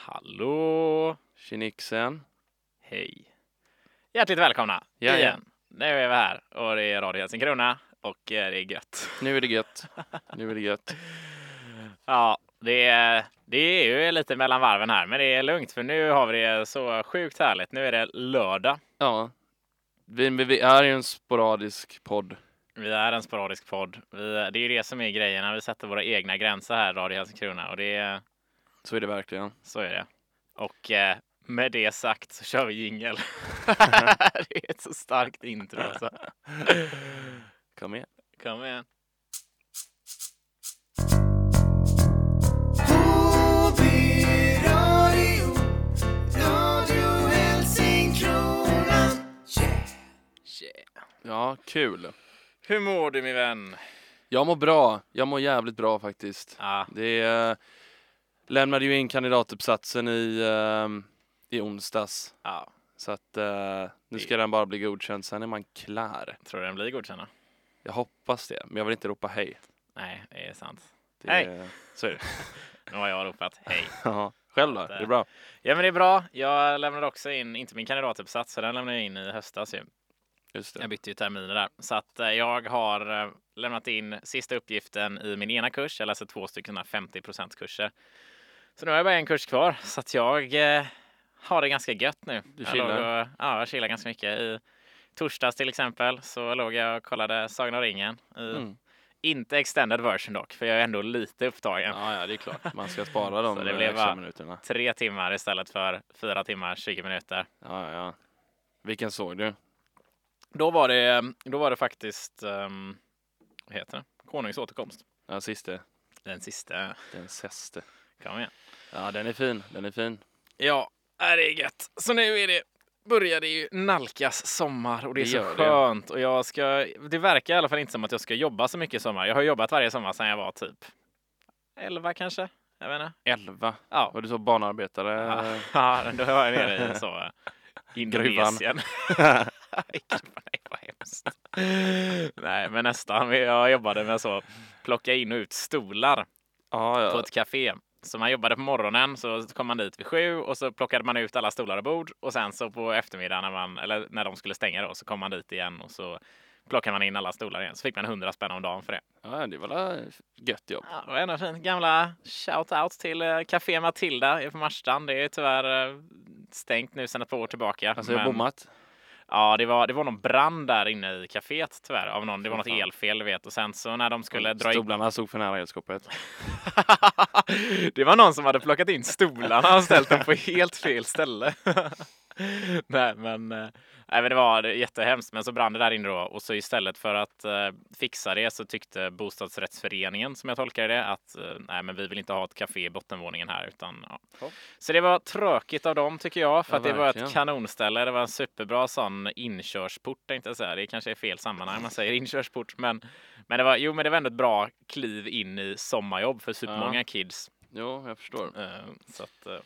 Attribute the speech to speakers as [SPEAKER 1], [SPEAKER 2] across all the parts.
[SPEAKER 1] Hallå, Kinixen.
[SPEAKER 2] Hej. Hjärtligt välkomna
[SPEAKER 1] Jajamän.
[SPEAKER 2] igen. Nu är vi här och det är Radio Helsingkrona och eh, det är gött.
[SPEAKER 1] Nu är det gött. Nu är det gött.
[SPEAKER 2] Ja, det är, det är ju lite mellan varven här, men det är lugnt för nu har vi det så sjukt härligt. Nu är det lördag.
[SPEAKER 1] Ja. Vi, vi- vi är ju en sporadisk podd.
[SPEAKER 2] Vi är en sporadisk podd. Vi, det är ju det som är grejen när vi sätter våra egna gränser här, Radio Helsingkrona, och det är
[SPEAKER 1] Så är det verkligen.
[SPEAKER 2] så är det. Och eh, med det sagt så kör vi jingel. det är ett så starkt intro alltså.
[SPEAKER 1] Kom igen.
[SPEAKER 2] Kom igen.
[SPEAKER 1] Ja, kul.
[SPEAKER 2] Hur mår du min vän?
[SPEAKER 1] Jag mår bra. Jag mår jävligt bra faktiskt.
[SPEAKER 2] Ja,
[SPEAKER 1] Det eh, lämnade ju in kandidatuppsatsen i, ehm, i onsdags.
[SPEAKER 2] ja.
[SPEAKER 1] Så att eh, nu ska den bara bli godkänd. Sen är man klar.
[SPEAKER 2] Tror du den blir godkänd? då?
[SPEAKER 1] Jag hoppas det, men jag vill inte ropa hej.
[SPEAKER 2] Nej, det är sant.
[SPEAKER 1] Det,
[SPEAKER 2] Hej.
[SPEAKER 1] Så är det.
[SPEAKER 2] Nu har jag ropat hej.
[SPEAKER 1] Ja. Själv då? Är det bra?
[SPEAKER 2] Ja, men det är bra. Jag lämnade också in, inte min kandidatuppsats, så den lämnade jag in i höstas ju.
[SPEAKER 1] Just det.
[SPEAKER 2] Jag bytte ju terminer där. Så att eh, jag har eh, lämnat in sista uppgiften i min ena kurs. Jag läser två stycken såna här 50 kurser. Så nu har jag bara en kurs kvar, så att jag eh, har det ganska gött nu.
[SPEAKER 1] Du
[SPEAKER 2] jag låg
[SPEAKER 1] chillar.
[SPEAKER 2] och, ja, jag chillar ganska mycket. I torsdags till exempel så låg jag och kollade Sagan om ringen. I,
[SPEAKER 1] Mm.
[SPEAKER 2] Inte extended version dock, för jag är ändå lite upptagen.
[SPEAKER 1] Ja, ja, det är klart. Man ska spara de
[SPEAKER 2] Så det
[SPEAKER 1] eh,
[SPEAKER 2] blev
[SPEAKER 1] extra
[SPEAKER 2] bara-
[SPEAKER 1] minuterna.
[SPEAKER 2] Tre timmar istället för fyra timmar, 20 minuter.
[SPEAKER 1] Ja, ja, ja. Vilken såg du?
[SPEAKER 2] Då var det, då var det faktiskt, ehm, vad heter det? Konungens återkomst.
[SPEAKER 1] Ja, siste.
[SPEAKER 2] Den sista.
[SPEAKER 1] Den seste.
[SPEAKER 2] Kom igen.
[SPEAKER 1] Ja, den är fin. Den är fin.
[SPEAKER 2] Ja, äh, det är gött. Så nu är det, börjar det ju nalkas sommar och det är
[SPEAKER 1] Det
[SPEAKER 2] så
[SPEAKER 1] gör det.
[SPEAKER 2] skönt. Och jag ska, det verkar i alla fall inte som att jag ska jobba så mycket i sommar. Jag har jobbat varje sommar sedan jag var typ 11 kanske. Jag vet inte.
[SPEAKER 1] Elva.
[SPEAKER 2] Ja.
[SPEAKER 1] Var du så barnarbetare?
[SPEAKER 2] Ja, Ja, då var jag nere i så eh, Indonesien. Gruvan, Nej, vad hemskt. Nej, men nästan. Jag jobbade med så plocka in och ut stolar
[SPEAKER 1] Ja,
[SPEAKER 2] på
[SPEAKER 1] ja.
[SPEAKER 2] ett café. Så man jobbade på morgonen, så kom man dit vid sju och så plockade man ut alla stolar och bord och sen så på eftermiddagen när, man, eller när de skulle stänga då, så kom man dit igen och så plockade man in alla stolar igen. Så fick man 100 spänn om dagen för det.
[SPEAKER 1] ja det var väl gött jobb.
[SPEAKER 2] Ja, det var ändå fint. Gamla shout-out till eh, Café Matilda på Marstrand. Det är tyvärr eh, stängt nu sedan ett par år tillbaka.
[SPEAKER 1] Alltså, jag har
[SPEAKER 2] men-
[SPEAKER 1] bommat.
[SPEAKER 2] Ja, det var, det var någon brand där inne i kaféet tyvärr. Av någon, det var
[SPEAKER 1] Fy
[SPEAKER 2] något
[SPEAKER 1] fan.
[SPEAKER 2] elfel, du vet. Och sen så när de skulle dra in...
[SPEAKER 1] Stolarna stod för nära elskåpet.
[SPEAKER 2] det var någon som hade plockat in stolarna och ställt dem på helt fel ställe. nej, men, eh, nej, men det var jättehemskt. Men så brann det där inne då. Och så istället för att eh, fixa det så tyckte bostadsrättsföreningen, som jag tolkar det, att eh, nej, men vi vill inte ha ett café i bottenvåningen här. Utan, ja.
[SPEAKER 1] Ja.
[SPEAKER 2] Så det var tråkigt av dem tycker jag, för
[SPEAKER 1] Ja,
[SPEAKER 2] att det var
[SPEAKER 1] verkligen.
[SPEAKER 2] ett kanonställe. Det var en superbra sån inkörsport tänkte jag säga. Det kanske är fel sammanhang man säger inkörsport, men, men det var, jo, men det var ändå ett bra kliv in i sommarjobb för supermånga kids.
[SPEAKER 1] Jo, jag förstår.
[SPEAKER 2] Eh, Så att, eh,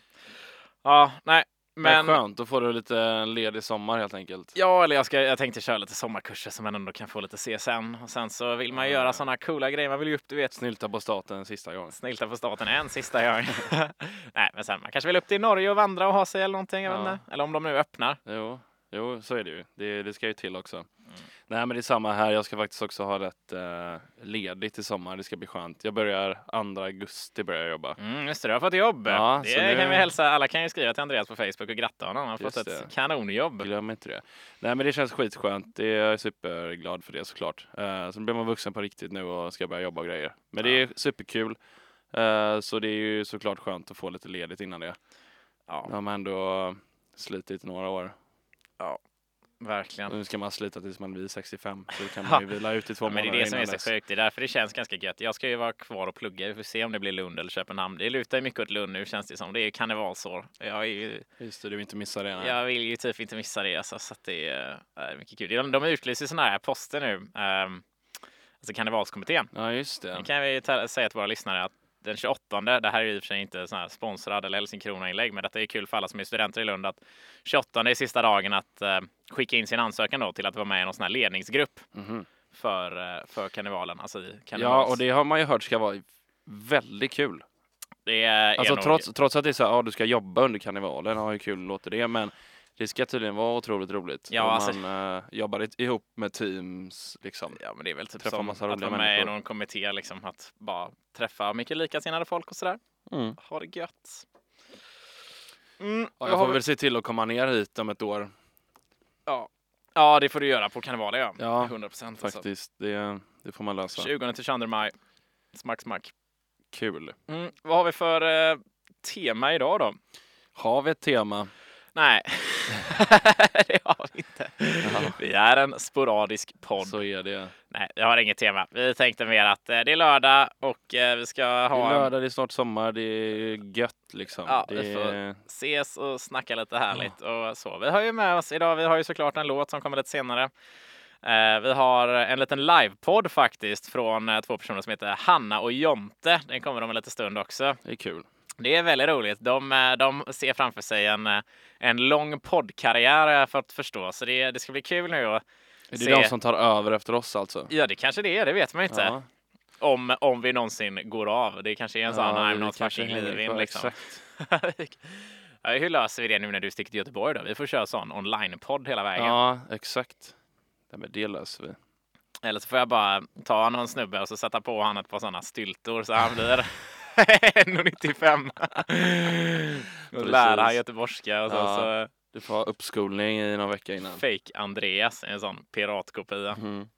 [SPEAKER 2] ja, nej,
[SPEAKER 1] Men,
[SPEAKER 2] men.
[SPEAKER 1] skönt, då får du lite ledig sommar helt enkelt.
[SPEAKER 2] Ja, eller jag, ska, jag tänkte köra lite sommarkurser som man ändå kan få lite CSN. Och sen så vill man ju göra såna coola grejer. Man vill ju upp, du vet,
[SPEAKER 1] Snylta på staten sista gången.
[SPEAKER 2] snylta på staten en sista gång. nej, men sen man kanske vill upp till Norge och vandra och ha sig eller någonting. Jag vet
[SPEAKER 1] Ja.
[SPEAKER 2] inte. Eller om de nu öppnar.
[SPEAKER 1] Jo, jo så är det ju. Det, det ska ju till
[SPEAKER 2] Mm.
[SPEAKER 1] också. Nej, men det är samma här. Jag ska faktiskt också ha rätt eh, ledigt i sommar. Det ska bli skönt. Jag börjar 2 augusti börjar jag jobba.
[SPEAKER 2] Mm, just det, du har fått jobb.
[SPEAKER 1] Ja, så
[SPEAKER 2] det
[SPEAKER 1] nu-
[SPEAKER 2] kan vi hälsa. Alla kan ju skriva till Andreas på Facebook och gratta honom. Han har fått
[SPEAKER 1] Just
[SPEAKER 2] ett
[SPEAKER 1] det.
[SPEAKER 2] kanonjobb.
[SPEAKER 1] Glöm inte det. Nej, men det känns skitskönt. Det, jag är superglad för det såklart. Eh, så nu blir man vuxen på riktigt nu och ska börja jobba och grejer. Men det är superkul. Eh, så det är ju såklart skönt att få lite ledigt innan det.
[SPEAKER 2] Ja.
[SPEAKER 1] Nu har man ändå slitit några år.
[SPEAKER 2] Verkligen.
[SPEAKER 1] Och nu ska man slita tills man blir 65. Så då kan man ju vila ut i två
[SPEAKER 2] Ja, men det
[SPEAKER 1] månader
[SPEAKER 2] är det som är
[SPEAKER 1] innan
[SPEAKER 2] så
[SPEAKER 1] dess.
[SPEAKER 2] sjukt. Det är därför det känns ganska gött. Jag ska ju vara kvar och plugga. Vi får se om det blir Lund eller Köpenhamn. Det lutar ju mycket åt Lund nu känns det som. Det är ju karnevalsår. Jag, är ju,
[SPEAKER 1] Just det, du vill inte missa det. nej.
[SPEAKER 2] jag vill ju typ inte missa det. Alltså, så att det är eh, mycket kul. De, de utlyser sådana här poster nu. ehm, alltså karnevalskommittén.
[SPEAKER 1] Ja, just det.
[SPEAKER 2] Nu kan vi ta- säga till våra lyssnare att den 28, det här är ju i och för sig inte sån här sponsrad eller Helsingkrona-inlägg, men detta är kul för alla som är studenter i Lund att 28 är sista dagen att eh, skicka in sin ansökan då till att vara med i någon sån här ledningsgrupp
[SPEAKER 1] Mhm.
[SPEAKER 2] för, eh, för karnevalen, alltså i karnevals.
[SPEAKER 1] Ja, och det har man ju hört ska vara väldigt kul.
[SPEAKER 2] Det är
[SPEAKER 1] Alltså
[SPEAKER 2] nog-
[SPEAKER 1] trots, trots att det är så här, ja du ska jobba under karnevalen, ja hur kul låter det? Men det ska tydligen vara otroligt roligt.
[SPEAKER 2] Ja,
[SPEAKER 1] om
[SPEAKER 2] alltså-
[SPEAKER 1] man eh, jobbar i- ihop med teams liksom.
[SPEAKER 2] Ja, men det är väl typ
[SPEAKER 1] Träffa
[SPEAKER 2] som
[SPEAKER 1] massa
[SPEAKER 2] att
[SPEAKER 1] roliga
[SPEAKER 2] vara med i
[SPEAKER 1] människor.
[SPEAKER 2] någon kommitté, liksom att bara träffa mycket likasinnade folk och sådär.
[SPEAKER 1] Mm.
[SPEAKER 2] Ha det gött. Mm, jag
[SPEAKER 1] Ja, jag
[SPEAKER 2] har Alltså-
[SPEAKER 1] får
[SPEAKER 2] väl-
[SPEAKER 1] väl se till att komma ner hit om ett år
[SPEAKER 2] ja. ja, det får du göra på karnevalen. Ja.
[SPEAKER 1] Ja,
[SPEAKER 2] 100 procent. Alltså.
[SPEAKER 1] faktiskt. Det, det får man lösa.
[SPEAKER 2] 20 till 22 maj. Smack, smack.
[SPEAKER 1] Kul.
[SPEAKER 2] Mm, vad har vi för eh, tema idag då?
[SPEAKER 1] Har vi ett tema?
[SPEAKER 2] Nej, det har vi inte. Vi är en sporadisk podd.
[SPEAKER 1] Så är det.
[SPEAKER 2] Nej, jag har inget tema. Vi tänkte mer att eh, det är lördag och eh, vi ska
[SPEAKER 1] Det
[SPEAKER 2] ha
[SPEAKER 1] är
[SPEAKER 2] en-
[SPEAKER 1] lördag, det är snart sommar, det är gött liksom.
[SPEAKER 2] Ja,
[SPEAKER 1] det
[SPEAKER 2] vi får-
[SPEAKER 1] är...
[SPEAKER 2] ses och snacka lite härligt och så. Vi har ju med oss idag, vi har ju såklart en låt som kommer lite senare. Eh, vi har en liten livepodd faktiskt från eh, två personer som heter Hanna och Jonte. Den kommer om en liten stund också.
[SPEAKER 1] det är kul.
[SPEAKER 2] Det är väldigt roligt. De, eh, de ser framför sig en, eh, en lång poddkarriär har jag fått förstå, så det, det ska bli kul nu. Och,
[SPEAKER 1] Det är
[SPEAKER 2] Se.
[SPEAKER 1] de som tar över efter oss alltså.
[SPEAKER 2] ja, det kanske det är, det vet man ju inte.
[SPEAKER 1] Ja,
[SPEAKER 2] Om, om vi någonsin går av. Det kanske är en sån
[SPEAKER 1] Ja,
[SPEAKER 2] I'm
[SPEAKER 1] vi
[SPEAKER 2] not
[SPEAKER 1] kanske
[SPEAKER 2] fucking
[SPEAKER 1] hänger
[SPEAKER 2] leaving
[SPEAKER 1] kvar,
[SPEAKER 2] liksom.
[SPEAKER 1] Exakt.
[SPEAKER 2] ja, hur löser vi det nu när du sticker till Göteborg då? Vi får köra sån online-podd hela vägen.
[SPEAKER 1] Ja, exakt. Nej, men det löser vi.
[SPEAKER 2] Eller så får jag bara ta någon snubbe och så sätta på han ett par sådana styltor så han blir 1,95. Då lär han
[SPEAKER 1] Precis.
[SPEAKER 2] göteborgska och så,
[SPEAKER 1] Ja.
[SPEAKER 2] så
[SPEAKER 1] Du får ha uppskolning i någon vecka innan.
[SPEAKER 2] fake Andreas, en sån piratkopia.
[SPEAKER 1] Mm.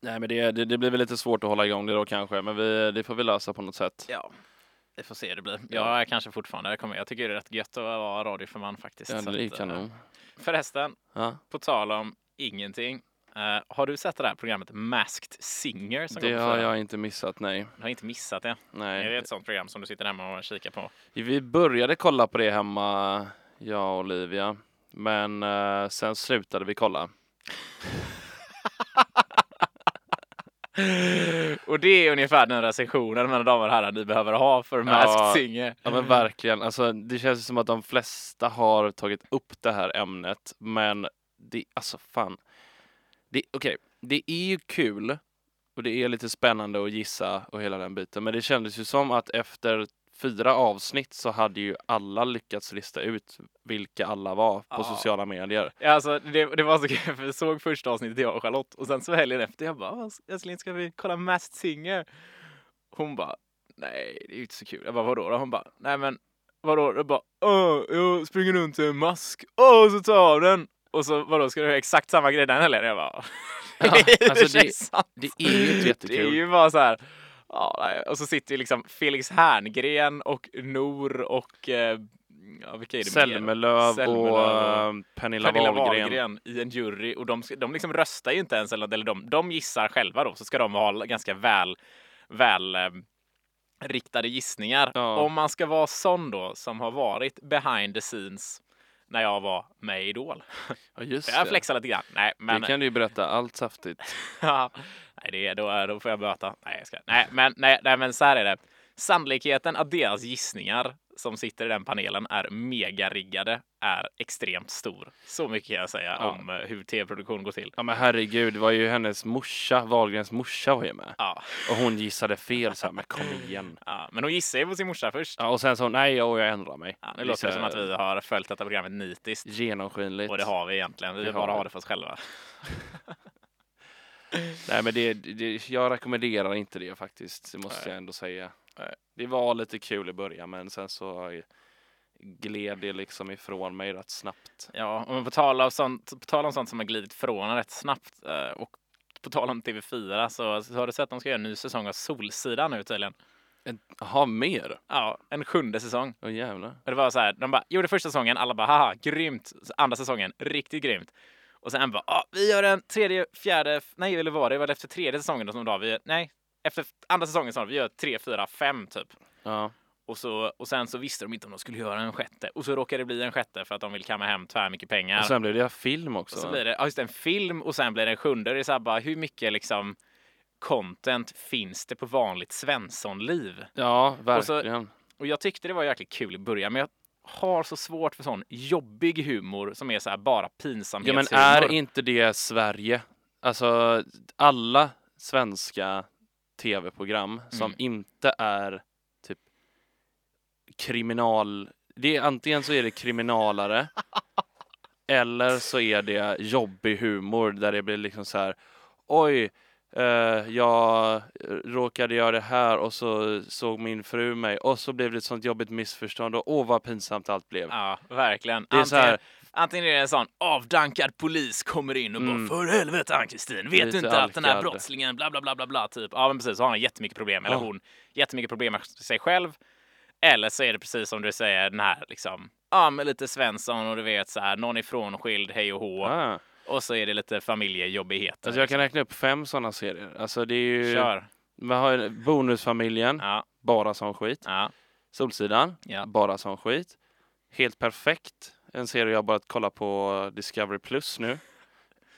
[SPEAKER 1] Nej, men det, det, det blir väl lite svårt att hålla igång det då kanske, men vi, det får vi lösa på något sätt.
[SPEAKER 2] Ja, vi får se hur det blir. Jag är kanske fortfarande, jag, kommer, jag tycker det är rätt gött att vara radioförman faktiskt.
[SPEAKER 1] Ja,
[SPEAKER 2] så
[SPEAKER 1] det är
[SPEAKER 2] att, eh,
[SPEAKER 1] kanon.
[SPEAKER 2] Förresten,
[SPEAKER 1] Ja,
[SPEAKER 2] på tal om ingenting. eh, har du sett det här programmet Masked Singer? Som
[SPEAKER 1] det
[SPEAKER 2] går på
[SPEAKER 1] har
[SPEAKER 2] fyran?
[SPEAKER 1] jag inte missat, nej.
[SPEAKER 2] Du har inte missat det. Är det
[SPEAKER 1] nej.
[SPEAKER 2] ett sånt program som du sitter hemma och kikar på?
[SPEAKER 1] Vi började kolla på det hemma, jag och Olivia, men eh, sen slutade vi kolla.
[SPEAKER 2] Och det är ungefär den recensionen, mina damer och herrar, ni behöver ha för Masked
[SPEAKER 1] Ja.
[SPEAKER 2] Singer.
[SPEAKER 1] Ja men verkligen, alltså, det känns ju som att de flesta har tagit upp det här ämnet, men det, alltså fan. Det, okej, det är ju kul och det är lite spännande att gissa och hela den biten, men det kändes ju som att efter fyra avsnitt så hade ju alla lyckats lista ut vilka alla var på
[SPEAKER 2] Ja.
[SPEAKER 1] sociala medier.
[SPEAKER 2] Ja, Alltså, det, det var så kul, för vi såg första avsnittet jag och Charlotte och sen så helgen efter, jag bara "Åh, älskling ska vi kolla Masked Singer? Hon bara, nej det är ju inte så kul. Jag bara vadå då? Hon bara, nej men vadå? Jag bara, åh, jag springer runt i en mask, åh så tar jag av den! Och så vadå, ska du göra exakt samma grej den helgen? Jag bara, det är ju
[SPEAKER 1] alltså,
[SPEAKER 2] i och för sig
[SPEAKER 1] det-
[SPEAKER 2] sant.
[SPEAKER 1] Det är ju inte
[SPEAKER 2] Det är
[SPEAKER 1] jättekul.
[SPEAKER 2] ju bara så här. Ja, nej. och så sitter ju liksom Felix Herngren och Nor och eh, ja, vilka är det mer?
[SPEAKER 1] Selmelöv
[SPEAKER 2] Selmelöv
[SPEAKER 1] och
[SPEAKER 2] och
[SPEAKER 1] eh, Pernilla,
[SPEAKER 2] Pernilla
[SPEAKER 1] Wahlgren.
[SPEAKER 2] Wahlgren i en jury och de, ska- de liksom röstar ju inte ens eller, eller de, de gissar själva då så ska de ha ganska väl, väl eh, riktade gissningar.
[SPEAKER 1] Ja.
[SPEAKER 2] Om man ska vara sån då som har varit behind the scenes när jag var med i Idol.
[SPEAKER 1] Ja, just
[SPEAKER 2] Jag
[SPEAKER 1] det.
[SPEAKER 2] flexar lite grann. Nej, men
[SPEAKER 1] Det kan du ju berätta allt saftigt.
[SPEAKER 2] Ja. nej, det är, då, då får jag böta. Nej, jag ska. Nej, men, nej, nej, men så här är det. Sannolikheten att deras gissningar som sitter i den panelen är megariggade är extremt stor. Så mycket kan jag säga
[SPEAKER 1] Ja.
[SPEAKER 2] om eh, hur tv-produktion går till.
[SPEAKER 1] Ja men herregud, det var ju hennes morsa, Wahlgrens morsa var ju med.
[SPEAKER 2] Ja.
[SPEAKER 1] Och hon gissade fel så här, men kom igen.
[SPEAKER 2] Ja, men hon gissar ju på sin morsa först.
[SPEAKER 1] Ja, och sen så, nej jag, jag ändrar mig.
[SPEAKER 2] Ja, nu låter det som att vi har följt detta programmet nitiskt.
[SPEAKER 1] Genomskinligt.
[SPEAKER 2] Och det har vi egentligen. Vi
[SPEAKER 1] Det har
[SPEAKER 2] bara
[SPEAKER 1] vi.
[SPEAKER 2] har det för oss själva.
[SPEAKER 1] Nej men det, det, jag rekommenderar inte det faktiskt, det måste
[SPEAKER 2] Nej.
[SPEAKER 1] jag ändå säga.
[SPEAKER 2] Nej.
[SPEAKER 1] Det var lite kul i början men sen så gled det liksom ifrån mig rätt snabbt.
[SPEAKER 2] Ja, och på tal om sånt, på tal om sånt som har glidit från en rätt snabbt eh, och på tal om TV4 så, så har du sett att de ska göra en ny säsong av Solsidan nu tydligen.
[SPEAKER 1] Jaha, mer?
[SPEAKER 2] Ja, en sjunde säsong.
[SPEAKER 1] Åh jävlar.
[SPEAKER 2] Och det var så här, de bara gjorde första säsongen, alla bara haha, grymt. Så Andra säsongen, riktigt grymt. Och sen bara, ah, vi gör en tredje, fjärde, f- nej eller vad var det, var det efter tredje säsongen då som då, vi, gör- nej, efter andra säsongen sa de, vi gör tre, fyra, fem typ.
[SPEAKER 1] Ja.
[SPEAKER 2] Och, så, och sen så visste de inte om de skulle göra en sjätte. Och så råkade det bli en sjätte för att de vill kamma hem tvär mycket pengar.
[SPEAKER 1] Och sen blev det film också.
[SPEAKER 2] Och så blir det, ja just det, en film och sen blir det en sjunde. Det är så här bara, hur mycket liksom content finns det på vanligt svenssonliv?
[SPEAKER 1] Ja,
[SPEAKER 2] så-
[SPEAKER 1] verkligen.
[SPEAKER 2] Och jag tyckte det var jäkligt kul i början, men jag har så svårt för sån jobbig humor som är så här bara
[SPEAKER 1] Ja men
[SPEAKER 2] pinsamhetshumor.
[SPEAKER 1] är inte det Sverige? Alltså alla svenska tv-program som
[SPEAKER 2] Mm.
[SPEAKER 1] inte är typ kriminal... Det är, antingen så är det kriminalare eller så är det jobbig humor där det blir liksom så här Oj, eh, jag råkade göra det här och så såg min fru mig och så blev det ett sånt jobbigt missförstånd och åh vad pinsamt allt blev.
[SPEAKER 2] Ja, verkligen.
[SPEAKER 1] Det är
[SPEAKER 2] antingen,
[SPEAKER 1] så här-
[SPEAKER 2] antingen är det en sån avdankad polis kommer in och bara
[SPEAKER 1] Mm.
[SPEAKER 2] för helvete Ann-Kristin, vet
[SPEAKER 1] Lite
[SPEAKER 2] du inte att den här
[SPEAKER 1] alkad.
[SPEAKER 2] brottslingen bla bla bla bla bla typ. Ja men precis, så har han jättemycket problem, eller
[SPEAKER 1] Ja.
[SPEAKER 2] hon, jättemycket problem med sig själv. Eller så är det precis som du säger, den här liksom, ja men lite Svensson och du vet så här, någon är frånskild, hej och hå.
[SPEAKER 1] Ah.
[SPEAKER 2] Och så är det lite familjejobbigheter.
[SPEAKER 1] Alltså jag kan räkna upp fem sådana serier. Alltså det är ju...
[SPEAKER 2] Kör.
[SPEAKER 1] Man har ju Bonusfamiljen,
[SPEAKER 2] Ja,
[SPEAKER 1] bara sån skit.
[SPEAKER 2] ja,
[SPEAKER 1] Solsidan,
[SPEAKER 2] ja.
[SPEAKER 1] bara sån skit. Helt perfekt, en serie jag har börjat kolla på Discovery Plus nu.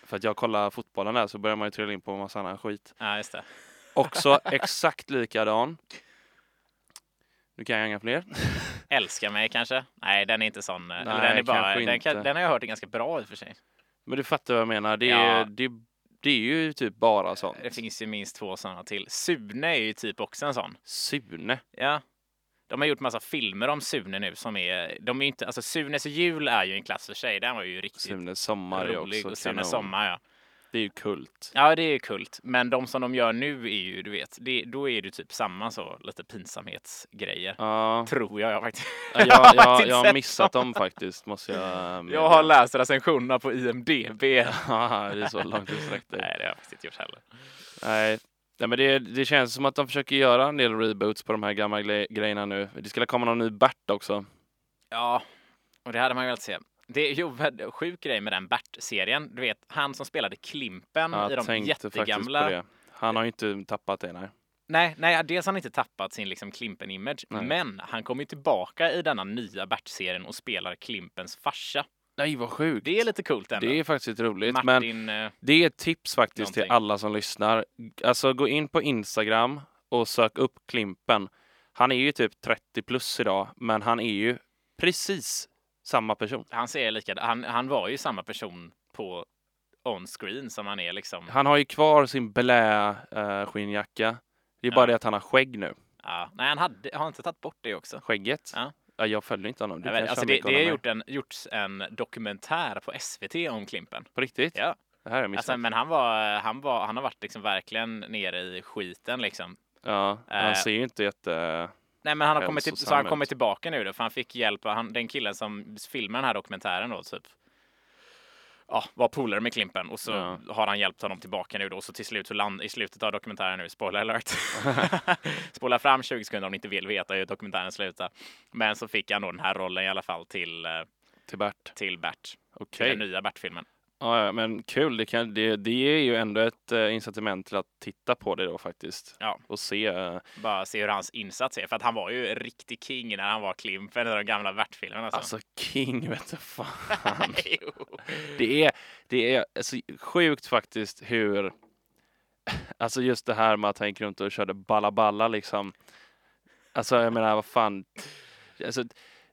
[SPEAKER 1] För att jag kollar fotbollen där så börjar man ju trilla in på en massa annan skit.
[SPEAKER 2] ja just det.
[SPEAKER 1] Också exakt likadan. Nu kan jag inga fler.
[SPEAKER 2] Älska mig kanske? Nej, den är inte sån. eh, eller
[SPEAKER 1] Nej,
[SPEAKER 2] den, är bara,
[SPEAKER 1] kanske
[SPEAKER 2] den, kan,
[SPEAKER 1] inte. Eh,
[SPEAKER 2] den har jag hört är ganska bra i och för sig.
[SPEAKER 1] Men du fattar vad jag menar. Det är,
[SPEAKER 2] Ja. Eh,
[SPEAKER 1] det, det är ju typ bara sånt.
[SPEAKER 2] Det finns ju minst två sådana till. Sune är ju typ också en sån.
[SPEAKER 1] Sune.
[SPEAKER 2] Ja. De har gjort massa filmer om Sune nu som är, de är ju inte, alltså Sunes jul är ju en klass för sig. Den var ju riktigt
[SPEAKER 1] Sunes sommar är
[SPEAKER 2] rolig.
[SPEAKER 1] också
[SPEAKER 2] Och Sunes
[SPEAKER 1] kanon.
[SPEAKER 2] sommar ja.
[SPEAKER 1] Det är ju kult.
[SPEAKER 2] Ja, det är ju kult. Men de som de gör nu är ju, du vet, det, då är det typ samma så lite pinsamhetsgrejer.
[SPEAKER 1] Ja.
[SPEAKER 2] Tror jag, jag faktiskt.
[SPEAKER 1] Jag,
[SPEAKER 2] har
[SPEAKER 1] jag,
[SPEAKER 2] faktiskt
[SPEAKER 1] jag, har
[SPEAKER 2] sett
[SPEAKER 1] missat dem faktiskt, måste jag medge.
[SPEAKER 2] Jag har läst recensionerna på IMDB.
[SPEAKER 1] Ja, det är så långt utsträckt. det.
[SPEAKER 2] Nej, det har jag faktiskt inte gjort heller.
[SPEAKER 1] Nej. Nej, men det, det känns som att de försöker göra en del reboots på de här gamla gle- grejerna nu. Det skulle komma någon ny Bert också.
[SPEAKER 2] Ja, och det hade man ju velat se. Det är ju en sjuk grej med den Bert-serien. Du vet, han som spelade Klimpen i
[SPEAKER 1] Jag
[SPEAKER 2] de
[SPEAKER 1] tänkte faktiskt på
[SPEAKER 2] jättegamla...
[SPEAKER 1] det. Han har ju inte tappat det, nej.
[SPEAKER 2] Nej, nej, dels har han inte tappat sin liksom Klimpen-image,
[SPEAKER 1] Nej.
[SPEAKER 2] men han kommer ju tillbaka i denna nya Bert-serien och spelar Klimpens farsa.
[SPEAKER 1] Nej, vad sjukt.
[SPEAKER 2] Det är lite coolt ändå.
[SPEAKER 1] Det är faktiskt roligt, men
[SPEAKER 2] Martin... eh,
[SPEAKER 1] Det är ett tips faktiskt till
[SPEAKER 2] Någonting.
[SPEAKER 1] alla som lyssnar. Alltså gå in på Instagram och sök upp Klimpen. Han är ju typ 30 plus idag, men han är ju precis samma person.
[SPEAKER 2] han ser likadan... Han, han var ju samma person på on-screen som han är liksom...
[SPEAKER 1] Han har ju kvar sin blä eh, skinnjacka. Det är bara
[SPEAKER 2] Ja.
[SPEAKER 1] det att han har skägg nu.
[SPEAKER 2] Ja. Nej, han hade, har han inte tagit bort det också.
[SPEAKER 1] Skägget.
[SPEAKER 2] Ja.
[SPEAKER 1] Ja, jag följer inte honom. Du
[SPEAKER 2] Jag vet,
[SPEAKER 1] kanske
[SPEAKER 2] alltså
[SPEAKER 1] har
[SPEAKER 2] det,
[SPEAKER 1] mycket att
[SPEAKER 2] det har
[SPEAKER 1] hålla
[SPEAKER 2] gjort en, gjorts en dokumentär på SVT om Klimpen.
[SPEAKER 1] med. På riktigt?
[SPEAKER 2] Ja.
[SPEAKER 1] Det här har jag missat.
[SPEAKER 2] Alltså, men han, var, han, var, han har varit liksom verkligen nere i skiten liksom.
[SPEAKER 1] ja, han
[SPEAKER 2] eh,
[SPEAKER 1] ser ju inte jätte... eh,
[SPEAKER 2] Nej, men han har kommit, till,
[SPEAKER 1] Hälsosam
[SPEAKER 2] så han
[SPEAKER 1] ut.
[SPEAKER 2] kommer tillbaka nu då, för han fick hjälp av han, den killen som filmar den här dokumentären då, typ. Ja, var polare med Klimpen och så
[SPEAKER 1] Ja.
[SPEAKER 2] har han hjälpt honom tillbaka nu då. Så till slut så land, i slutet av dokumentären nu, spoiler alert. Spola fram 20 sekunder om ni inte vill veta hur dokumentären slutar. Men så fick han då den här rollen i alla fall till, eh,
[SPEAKER 1] Till Bert.
[SPEAKER 2] till Bert, till
[SPEAKER 1] Okej.
[SPEAKER 2] den nya Bert-filmen.
[SPEAKER 1] Ja, ja, men kul. Det, kan, det, det är ju ändå ett eh, incitament till att titta på det då faktiskt.
[SPEAKER 2] Ja.
[SPEAKER 1] Och se. eh,
[SPEAKER 2] Bara se hur hans insats är. För att han var ju riktig king när han var Klimpen i de gamla Bert-filmerna. Alltså.
[SPEAKER 1] Alltså King vet du fan.
[SPEAKER 2] Jo.
[SPEAKER 1] Det är, det är alltså, sjukt faktiskt hur, alltså just det här med att han gick runt och körde balla balla liksom. Alltså jag menar vad fan, alltså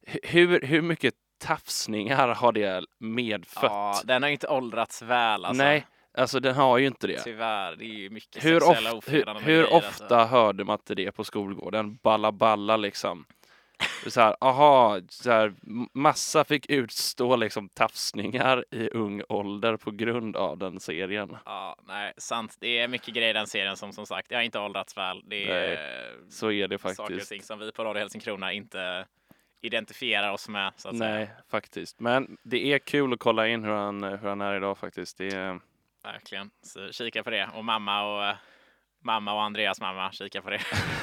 [SPEAKER 1] hu- hur, hur mycket tafsningar har det medfött?
[SPEAKER 2] Ja, den har ju inte åldrats väl alltså.
[SPEAKER 1] Nej, alltså den har ju inte det.
[SPEAKER 2] Tyvärr, det är ju mycket
[SPEAKER 1] Hur,
[SPEAKER 2] sexuella
[SPEAKER 1] of, hur,
[SPEAKER 2] ofredanden och
[SPEAKER 1] hur
[SPEAKER 2] grejer, Alltså.
[SPEAKER 1] ofta hörde man inte det på skolgården? Balla balla liksom. Så här, aha, så här, m- massa fick utstå liksom tafsningar i ung ålder på grund av den serien.
[SPEAKER 2] Ja, nej, sant. Det är mycket grejer i den serien som som sagt, jag har inte åldrats väl. Det är
[SPEAKER 1] Så är det
[SPEAKER 2] eh, saker och
[SPEAKER 1] faktiskt.
[SPEAKER 2] ting som vi på Radio Helsingkrona inte identifierar oss med. Så att
[SPEAKER 1] Nej,
[SPEAKER 2] Säga.
[SPEAKER 1] faktiskt. Men det är kul att kolla in hur han, hur han är idag faktiskt. Det är,
[SPEAKER 2] Verkligen. Så kika på det. Och mamma och, eh, mamma och Andreas mamma, kika på det.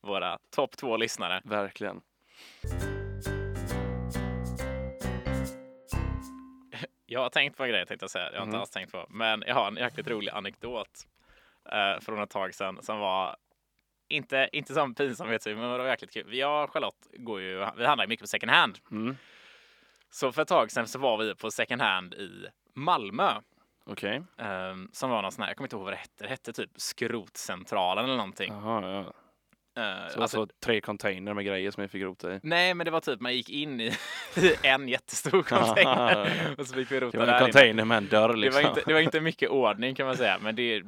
[SPEAKER 2] Våra topp två lyssnare.
[SPEAKER 1] verkligen.
[SPEAKER 2] Jag har tänkt på en grej tänkte jag säga. Jag har inte
[SPEAKER 1] Mhm.
[SPEAKER 2] alls tänkt på. Men jag har en jäkligt rolig anekdot eh, från ett tag sedan som var inte, inte som pinsamhetshumor, men det var jäkligt kul. Jag och Charlotte går ju, vi handlar ju mycket på second hand.
[SPEAKER 1] Mm.
[SPEAKER 2] Så för ett tag sedan så var vi på second hand i Malmö.
[SPEAKER 1] Okej.
[SPEAKER 2] eh, som var någon sån här, jag kommer inte ihåg vad det hette, det hette typ skrotcentralen eller någonting.
[SPEAKER 1] Jaha, ja.
[SPEAKER 2] Eh,
[SPEAKER 1] Så,
[SPEAKER 2] alltså-
[SPEAKER 1] så tre container med grejer som jag fick rota i.
[SPEAKER 2] Nej, men det var typ man gick in i, i en jättestor container och så fick vi
[SPEAKER 1] Det
[SPEAKER 2] rota
[SPEAKER 1] var
[SPEAKER 2] där
[SPEAKER 1] en
[SPEAKER 2] inne.
[SPEAKER 1] container med en dörr liksom.
[SPEAKER 2] Det var, inte, det var inte mycket ordning kan man säga, men det, I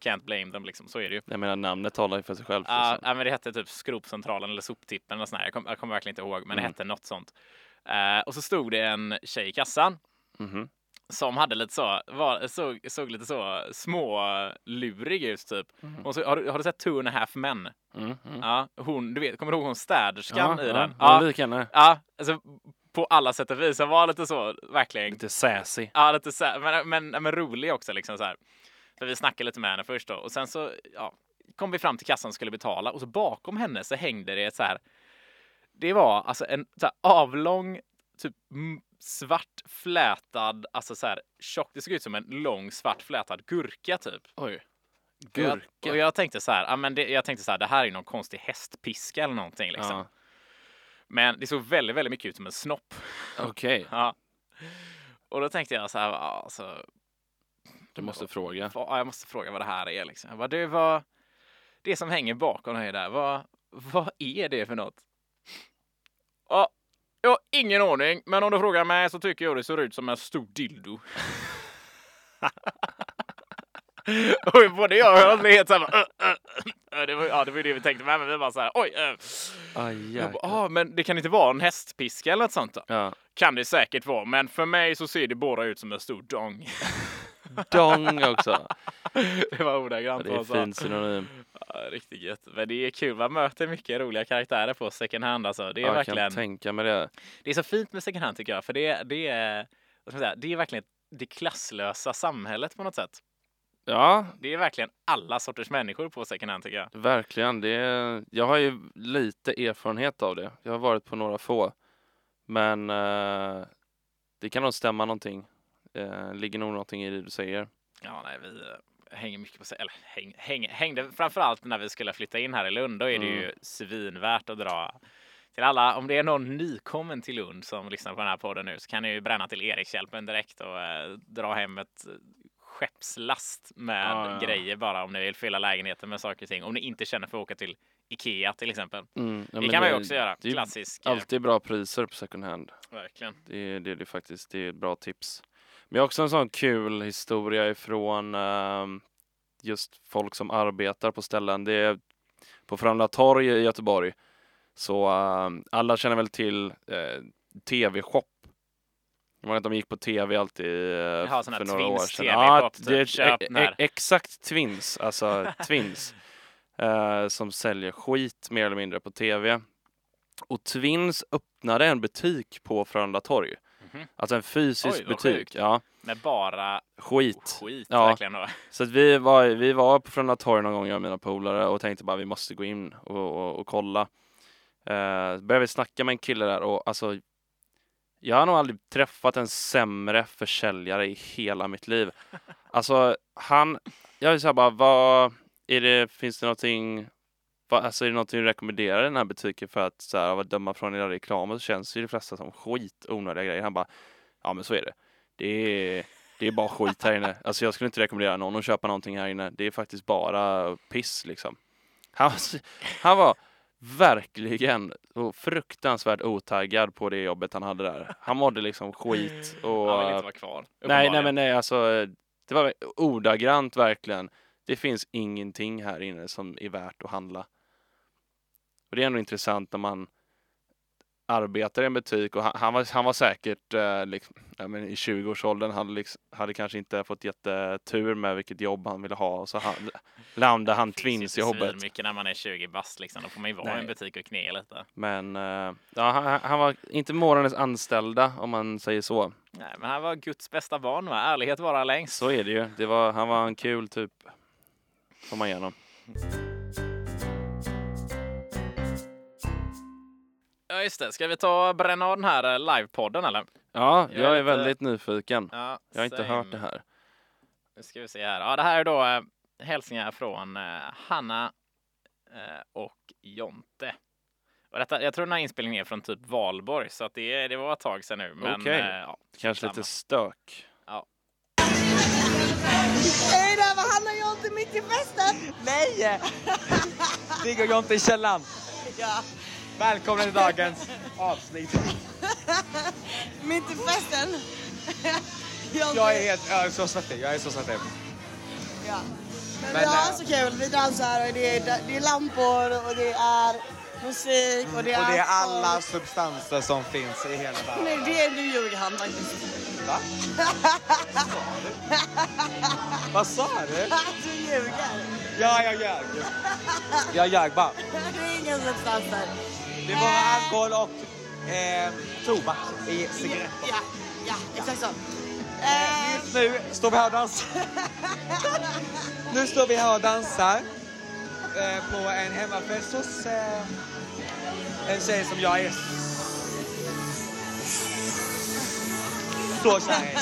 [SPEAKER 2] can't blame them liksom, så är det ju.
[SPEAKER 1] Jag menar namnet talar ju för sig själv.
[SPEAKER 2] Ja,
[SPEAKER 1] liksom.
[SPEAKER 2] ja, men det hette typ skrotcentralen eller soptippen eller sån här. Jag kom- jag kommer verkligen inte ihåg, men det
[SPEAKER 1] Mm.
[SPEAKER 2] hette något sånt. Eh, och så stod det en tjej i kassan
[SPEAKER 1] Mhm.
[SPEAKER 2] som hade lite så, var, såg, såg lite så smålurig ut typ.
[SPEAKER 1] Mhm.
[SPEAKER 2] Och så, har, du, har du sett Two and a half men?
[SPEAKER 1] Mm, mm.
[SPEAKER 2] Ja, hon, du vet, kommer du ihåg hon städerskan i
[SPEAKER 1] ja,
[SPEAKER 2] den?
[SPEAKER 1] Ja,
[SPEAKER 2] Ja,
[SPEAKER 1] det
[SPEAKER 2] ja,
[SPEAKER 1] är lik henne.
[SPEAKER 2] alltså på alla sätt och vis. Hon var lite så, verkligen
[SPEAKER 1] Lite sassy.
[SPEAKER 2] Ja, lite så här, men, men, men rolig också liksom så här. För vi snackade lite med henne först då och sen så ja, kom vi fram till kassan och skulle betala och så bakom henne så hängde det så här. Det var alltså en så här, avlång, typ m- svart flätad, alltså så här tjock. Det såg ut som en lång svart flätad gurka typ.
[SPEAKER 1] Oj.
[SPEAKER 2] Och jag, och
[SPEAKER 1] Gurka.
[SPEAKER 2] jag tänkte så här, ja, men det, jag tänkte så här, det här är någon konstig hästpiska eller någonting liksom.
[SPEAKER 1] Ja.
[SPEAKER 2] Men det såg väldigt, väldigt mycket ut som en snopp.
[SPEAKER 1] Okej,
[SPEAKER 2] Ja. Och då tänkte jag så här, ja, alltså,
[SPEAKER 1] du måste fråga.
[SPEAKER 2] Va- ja, jag måste fråga vad det här är. Liksom. Jag bara, det, var, det som hänger bakom dig där, vad, vad är det för något? Ja, jag har ingen aning, men om du frågar mig så tycker jag det ser ut som en stor dildo. Och både jag och jag blev helt så här, bara, "Ö, ö, ö." det var, ja, det var ju det vi tänkte med, men vi bara så här, oj. ö."
[SPEAKER 1] Aj,
[SPEAKER 2] Jag bara, ah, men det kan inte vara en hästpiska eller något sånt då?
[SPEAKER 1] Ja.
[SPEAKER 2] Kan det säkert vara, men för mig så ser det bara ut som en stor dong.
[SPEAKER 1] Dong också.
[SPEAKER 2] det var ordagrant
[SPEAKER 1] Det
[SPEAKER 2] vad
[SPEAKER 1] är
[SPEAKER 2] han sa.
[SPEAKER 1] fin synonym.
[SPEAKER 2] Ja, riktigt gött. Men det är kul, man möter mycket roliga karaktärer på second hand alltså. Det är
[SPEAKER 1] Ja, Jag kan
[SPEAKER 2] verkligen,
[SPEAKER 1] tänka mig det.
[SPEAKER 2] det är så fint med second hand tycker jag, för det, det är, vad ska man säga, det är verkligen det klasslösa samhället på något sätt.
[SPEAKER 1] Ja,
[SPEAKER 2] Det är verkligen alla sorters människor på second hand tycker jag.
[SPEAKER 1] Verkligen. Det är, jag har ju lite erfarenhet av det. Jag har varit på några få. Men eh, det kan nog stämma någonting. Eh, ligger nog någonting i det du säger.
[SPEAKER 2] Ja, nej, vi eh, hänger mycket på, se- eller häng, häng, hängde framförallt när vi skulle flytta in här i Lund, då är det
[SPEAKER 1] Mm.
[SPEAKER 2] ju svinvärt att dra till alla. Om det är någon nykommen till Lund som lyssnar på den här podden nu så kan ni ju bränna till Erikshjälpen direkt och eh, dra hem ett eh, skeppslast med
[SPEAKER 1] Ja, ja.
[SPEAKER 2] grejer bara om ni vill fylla lägenheten med saker och ting. Om ni inte känner för att åka till Ikea till exempel.
[SPEAKER 1] Mm, ja,
[SPEAKER 2] det
[SPEAKER 1] men
[SPEAKER 2] kan man ju
[SPEAKER 1] är-
[SPEAKER 2] också göra.
[SPEAKER 1] det är ju
[SPEAKER 2] Klassisk. eh,
[SPEAKER 1] Alltid bra priser på second hand.
[SPEAKER 2] Verkligen.
[SPEAKER 1] Det är det, är det faktiskt. Det är ett bra tips. Men jag har också en sån kul historia ifrån ehm, just folk som arbetar på ställen. Det är på Frölunda torg i Göteborg. Så ehm, alla känner väl till eh, TV-shop. Jag menar att de gick på TV alltid eh,
[SPEAKER 2] Jaha, sån här
[SPEAKER 1] för några år
[SPEAKER 2] Twins
[SPEAKER 1] sedan.
[SPEAKER 2] TV-shop, typ.
[SPEAKER 1] det är ett-
[SPEAKER 2] Köp
[SPEAKER 1] e-
[SPEAKER 2] den här.
[SPEAKER 1] e- exakt Twins, alltså Twins. eh, som säljer skit mer eller mindre på TV. Och Twins öppnade en butik på Frölunda torg.
[SPEAKER 2] Mhm.
[SPEAKER 1] Alltså en fysisk
[SPEAKER 2] Oj, vad
[SPEAKER 1] butik.
[SPEAKER 2] sjukt.
[SPEAKER 1] Ja,
[SPEAKER 2] Med bara
[SPEAKER 1] skit.
[SPEAKER 2] skit
[SPEAKER 1] Ja.
[SPEAKER 2] verkligen då.
[SPEAKER 1] Så att vi var, vi var på Frölunda torg någon gång jag och mina polare och tänkte bara vi måste gå in och, och, och kolla. Eh, började vi snacka med en kille där och alltså jag har nog aldrig träffat en sämre försäljare i hela mitt liv. Alltså han, jag vill säga bara vad, är det, finns det någonting, vad, alltså är det någonting du rekommenderar i den här butiken för att så här, av att döma från era reklamer så känns ju det flesta som skit, onödiga grejer. Han bara, ja men så är det. Det är, det är bara skit här inne. Alltså jag skulle inte rekommendera någon att köpa någonting här inne. Det är faktiskt bara piss liksom. Han, var så- han var verkligen och fruktansvärt otaggad på det jobbet han hade där. Han mådde liksom skit och...
[SPEAKER 2] Han vill inte vara kvar.
[SPEAKER 1] Nej, nej,
[SPEAKER 2] uppenbarligen.
[SPEAKER 1] men nej, alltså det var ordagrant verkligen. Det finns ingenting här inne som är värt att handla. Och det är ändå intressant när man arbetar i en butik och han, han, var, han var säkert eh, liksom, ja, men i 20-årsåldern, hade, liksom, hade kanske inte fått jättetur med vilket jobb han ville ha och så han, landade han
[SPEAKER 2] Finns ju inte
[SPEAKER 1] twins i jobbet.
[SPEAKER 2] Mycket när man är 20 bast liksom. Då får man ju vara i
[SPEAKER 1] Nej.
[SPEAKER 2] en butik och knega lite.
[SPEAKER 1] Men eh, ja, han, han- han var inte morgonens anställda om man säger så.
[SPEAKER 2] Nej, men han var Guds bästa barn va? Ärlighet vara längst.
[SPEAKER 1] Så är det ju. Det var, han var en kul typ. Får man igenom.
[SPEAKER 2] Ja just det, ska vi ta och bränna av den här eh, livepodden eller?
[SPEAKER 1] Ja,
[SPEAKER 2] Jag
[SPEAKER 1] jag,
[SPEAKER 2] är
[SPEAKER 1] är,
[SPEAKER 2] lite-
[SPEAKER 1] väldigt nyfiken.
[SPEAKER 2] Ja,
[SPEAKER 1] Jag har inte hört det här.
[SPEAKER 2] Nu ska vi se här. Ja, det här är då eh, hälsningar från eh, Hanna eh, och Jonte. Och detta, jag tror den här inspelningen är från typ Valborg, så att det, är- det var ett tag sedan nu. Men,
[SPEAKER 1] Okej.
[SPEAKER 2] eh, ja.
[SPEAKER 1] Kanske
[SPEAKER 2] Samma.
[SPEAKER 1] lite stök.
[SPEAKER 3] Är det där var Hanna och Jonte mitt i festen?
[SPEAKER 4] Nej! Viggo och Jonte i källaren.
[SPEAKER 3] Ja,
[SPEAKER 4] Välkomna till dagens avsnitt.
[SPEAKER 3] mitt i festen. Jonte.
[SPEAKER 4] Jag är, helt, jag är så svettig. Jag är så svettig.
[SPEAKER 3] Ja. Men,
[SPEAKER 4] Men,
[SPEAKER 3] vi har
[SPEAKER 4] eh,
[SPEAKER 3] så kul. Vi dansar och det är, det är lampor och det är musik och det är...
[SPEAKER 4] Mm, Och det är alla
[SPEAKER 3] allt.
[SPEAKER 4] substanser som finns i hela världen.
[SPEAKER 3] Nej, det är, nu ljuger han faktiskt.
[SPEAKER 4] Va? Vad sa du?
[SPEAKER 3] du Alltså, ljuger.
[SPEAKER 4] Ja, jag ljög. Jag ljög bara.
[SPEAKER 3] Det är inga substanser.
[SPEAKER 4] Det var alkohol och eh, tobak i
[SPEAKER 3] Ja,
[SPEAKER 4] cigaretter.
[SPEAKER 3] ja, ja, exakt så. Eh,
[SPEAKER 4] Nu står vi här och dansar. Nu står vi här och dansar eh, på en hemmafest hos eh, en tjej som jag är så kär i.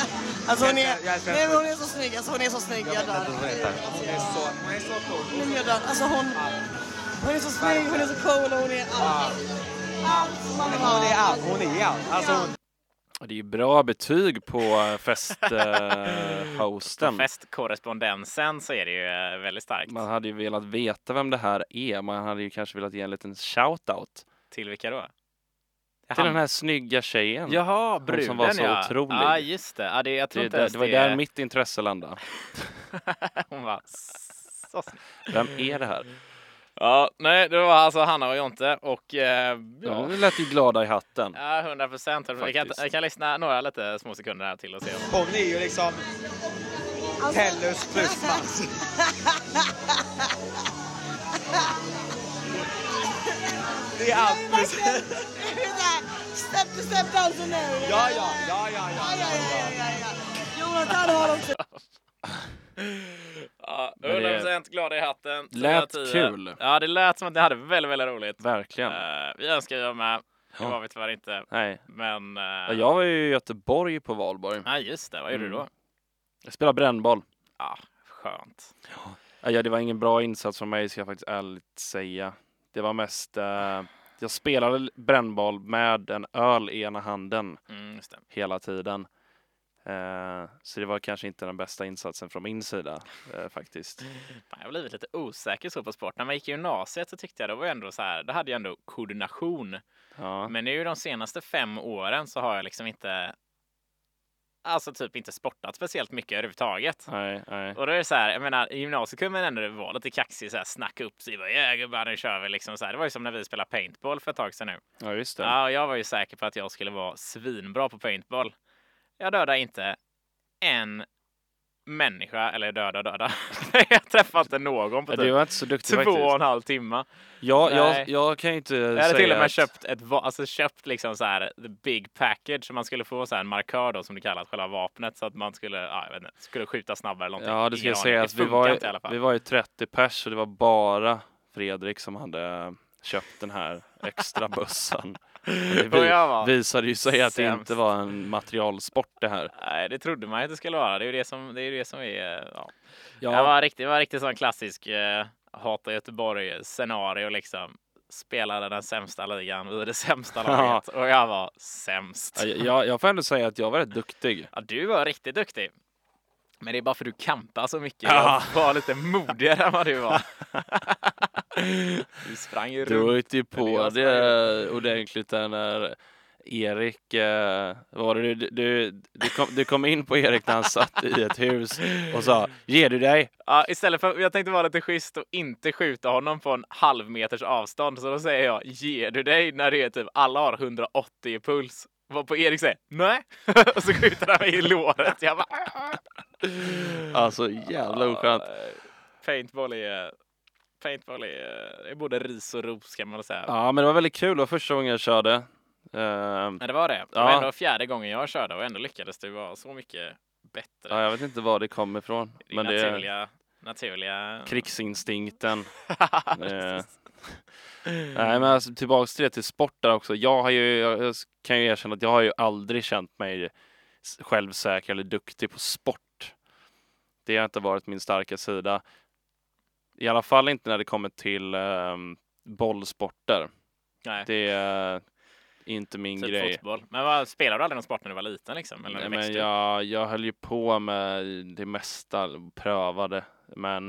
[SPEAKER 3] alltså hon är,
[SPEAKER 4] Jag- jag- jag-
[SPEAKER 3] nej, men hon är så snygg, alltså hon är så snygg. Jag
[SPEAKER 4] Jag vet
[SPEAKER 3] dör.
[SPEAKER 4] inte vad hon heter. Hon är så, hon är så cool.
[SPEAKER 3] Men jag dör. Alltså hon, hon är så snygg, hon är så cool och hon är allt. Allt man vill
[SPEAKER 4] Hon är
[SPEAKER 3] ha.
[SPEAKER 4] allt, hon är allt. Alltså, hon,
[SPEAKER 1] Och Det är ju bra betyg på festhosten. Eh, hosten.
[SPEAKER 2] Festkorrespondensen så är det ju eh, väldigt starkt.
[SPEAKER 1] man hade ju velat veta vem det här är. Man hade ju kanske velat ge en liten shout-out
[SPEAKER 2] Till vilka då?
[SPEAKER 1] till den här snygga tjejen.
[SPEAKER 2] Jaha, bruden
[SPEAKER 1] som var så
[SPEAKER 2] ja.
[SPEAKER 1] otrolig.
[SPEAKER 2] Ja, just det. Ja, det jag tror
[SPEAKER 1] det,
[SPEAKER 2] inte
[SPEAKER 1] det,
[SPEAKER 2] ens
[SPEAKER 1] det var där mitt intresse landade.
[SPEAKER 2] Hon var så snygg.
[SPEAKER 1] Vem är det här?
[SPEAKER 2] Ja, nej, det var alltså Hanna och Jonte och eh,
[SPEAKER 1] Ja.
[SPEAKER 2] ja.
[SPEAKER 1] Nu lät ju glada i hatten.
[SPEAKER 2] Ja, 100 procent. Vi kan,
[SPEAKER 1] Faktiskt.
[SPEAKER 2] jag kan lyssna några lite små sekunder här till och se. om-
[SPEAKER 4] hon är ju liksom
[SPEAKER 3] Alltså-
[SPEAKER 4] Tellus plus Mats. Det är allt.
[SPEAKER 3] Verkligen. Det är så här, Step to step dansen nu.
[SPEAKER 4] Ja, ja, ja, ja,
[SPEAKER 3] Ja,
[SPEAKER 4] ja.
[SPEAKER 3] ja, ja, ja, ja. Jonathan har också
[SPEAKER 2] Ja,
[SPEAKER 1] Men det
[SPEAKER 2] 100 procent glada i hatten. tio
[SPEAKER 1] lät
[SPEAKER 2] av tio.
[SPEAKER 1] kul.
[SPEAKER 2] Ja, det lät som att ni hade väldigt, väldigt roligt.
[SPEAKER 1] Verkligen.
[SPEAKER 2] Eh, vi önskar jag med. Det
[SPEAKER 1] Ja.
[SPEAKER 2] var vi tyvärr inte.
[SPEAKER 1] Nej.
[SPEAKER 2] Men... eh,
[SPEAKER 1] Ja, Jag var ju i Göteborg på valborg.
[SPEAKER 2] Ja, just det. Vad gjorde du då?
[SPEAKER 1] Mm. Jag spelade brännboll.
[SPEAKER 2] Ja, skönt.
[SPEAKER 1] Ja, Ja, det var ingen bra insats från mig ska jag faktiskt ärligt säga. Det var mest... Eh, jag spelade brännboll med en öl i ena handen
[SPEAKER 2] Mm, just det.
[SPEAKER 1] hela tiden. Eh, så det var kanske inte den bästa insatsen från min sida eh, faktiskt.
[SPEAKER 2] Fan, jag har blivit lite osäker så på sport. När man gick i gymnasiet så tyckte jag det var ändå så här, det hade jag ändå koordination.
[SPEAKER 1] Ja.
[SPEAKER 2] Men nu de senaste fem åren så har jag liksom inte, alltså typ inte sportat speciellt mycket överhuvudtaget.
[SPEAKER 1] Nej, nej.
[SPEAKER 2] Och då är det så här, jag menar, i gymnasiet kunde man ändå vara lite kaxig, så här, snacka upp sig, bara ja gubbar nu kör vi liksom så här. Det var ju som när vi spelade paintball för ett tag sedan nu.
[SPEAKER 1] Ja, just det.
[SPEAKER 2] Ja, och jag var ju säker på att jag skulle vara svinbra på paintball. Jag dödade inte en människa, eller döda döda. jag träffade inte någon på
[SPEAKER 1] Ja, du
[SPEAKER 2] typ
[SPEAKER 1] var inte så duktig
[SPEAKER 2] två och
[SPEAKER 1] faktiskt.
[SPEAKER 2] en halv timme.
[SPEAKER 1] Jag,
[SPEAKER 2] Nej.
[SPEAKER 1] jag, jag kan ju inte
[SPEAKER 2] Jag hade till och med
[SPEAKER 1] att-
[SPEAKER 2] köpt ett, va- alltså köpt liksom så här the big package som man skulle få så här en markör då som det kallas, själva vapnet så att man skulle, ja, jag vet inte, skulle skjuta snabbare eller någonting.
[SPEAKER 1] Ja, det ska
[SPEAKER 2] Ingen
[SPEAKER 1] jag
[SPEAKER 2] aning.
[SPEAKER 1] säga. Att
[SPEAKER 2] Det
[SPEAKER 1] vi,
[SPEAKER 2] funkar
[SPEAKER 1] var,
[SPEAKER 2] inte i alla fall.
[SPEAKER 1] vi var ju 30 pers och det var bara Fredrik som hade köpt den här extra bössan. Och Det
[SPEAKER 2] Och jag var
[SPEAKER 1] vi, visade ju sig att det
[SPEAKER 2] sämst.
[SPEAKER 1] inte var en materialsport det här.
[SPEAKER 2] Nej, det trodde man ju att det skulle vara. Det är ju det som, det är ju det som är... eh, Ja.
[SPEAKER 1] Ja,
[SPEAKER 2] Det var riktigt, det var riktigt sån klassisk eh, hata Göteborg-scenario liksom. Spelade den sämsta ligan, vi är det sämsta
[SPEAKER 1] Ja.
[SPEAKER 2] laget och jag var sämst.
[SPEAKER 1] jag, jag, jag får ändå säga att jag var rätt duktig.
[SPEAKER 2] Ja, du var riktigt duktig. Men det är bara för du kampar så mycket.
[SPEAKER 1] Ja.
[SPEAKER 2] Jag var lite modigare än vad du var. du sprang ju
[SPEAKER 1] Du
[SPEAKER 2] runt.
[SPEAKER 1] åkte ju
[SPEAKER 2] Men jag
[SPEAKER 1] på
[SPEAKER 2] ska
[SPEAKER 1] det ordentligt där när Erik, eh, vad var det du, du, du, kom, du kom in på Erik när han satt i ett hus och sa ger du dig?
[SPEAKER 2] Ja, istället för, jag tänkte vara lite schysst och inte skjuta honom på en halv meters avstånd. Så då säger jag, ger du dig när det är typ alla har 180 i puls? Var på Erik säger, nej. och så skjuter han mig i låret. Jag bara, "Ah."
[SPEAKER 1] Alltså jävla oskönt.
[SPEAKER 2] paintball är, paintball är, det är både ris och ros kan man säga.
[SPEAKER 1] Ja, men det var väldigt kul. Det var första gången jag körde. Eh,
[SPEAKER 2] Men det var det. Det
[SPEAKER 1] Ja.
[SPEAKER 2] var ändå fjärde gången jag körde och ändå lyckades du vara så mycket bättre.
[SPEAKER 1] Ja, jag vet inte var det kom ifrån.
[SPEAKER 2] Din
[SPEAKER 1] men det är
[SPEAKER 2] naturliga... Naturliga...
[SPEAKER 1] krigsinstinkten. eh.
[SPEAKER 2] Precis.
[SPEAKER 1] Nej, men alltså, tillbaks till det till sport där också. Jag har ju, jag jag kan ju erkänna att jag har ju aldrig känt mig s- självsäker eller duktig på sport. Det har inte varit min starka sida. I alla fall inte när det kommer till ehm, bollsporter.
[SPEAKER 2] Nej,
[SPEAKER 1] Det är inte min
[SPEAKER 2] typ
[SPEAKER 1] grej.
[SPEAKER 2] fotboll. Men vad, spelade du aldrig någon sport när du var liten liksom? Eller
[SPEAKER 1] Nej,
[SPEAKER 2] när du
[SPEAKER 1] men
[SPEAKER 2] växte upp?
[SPEAKER 1] jag, jag höll ju på med det mesta, prövade, men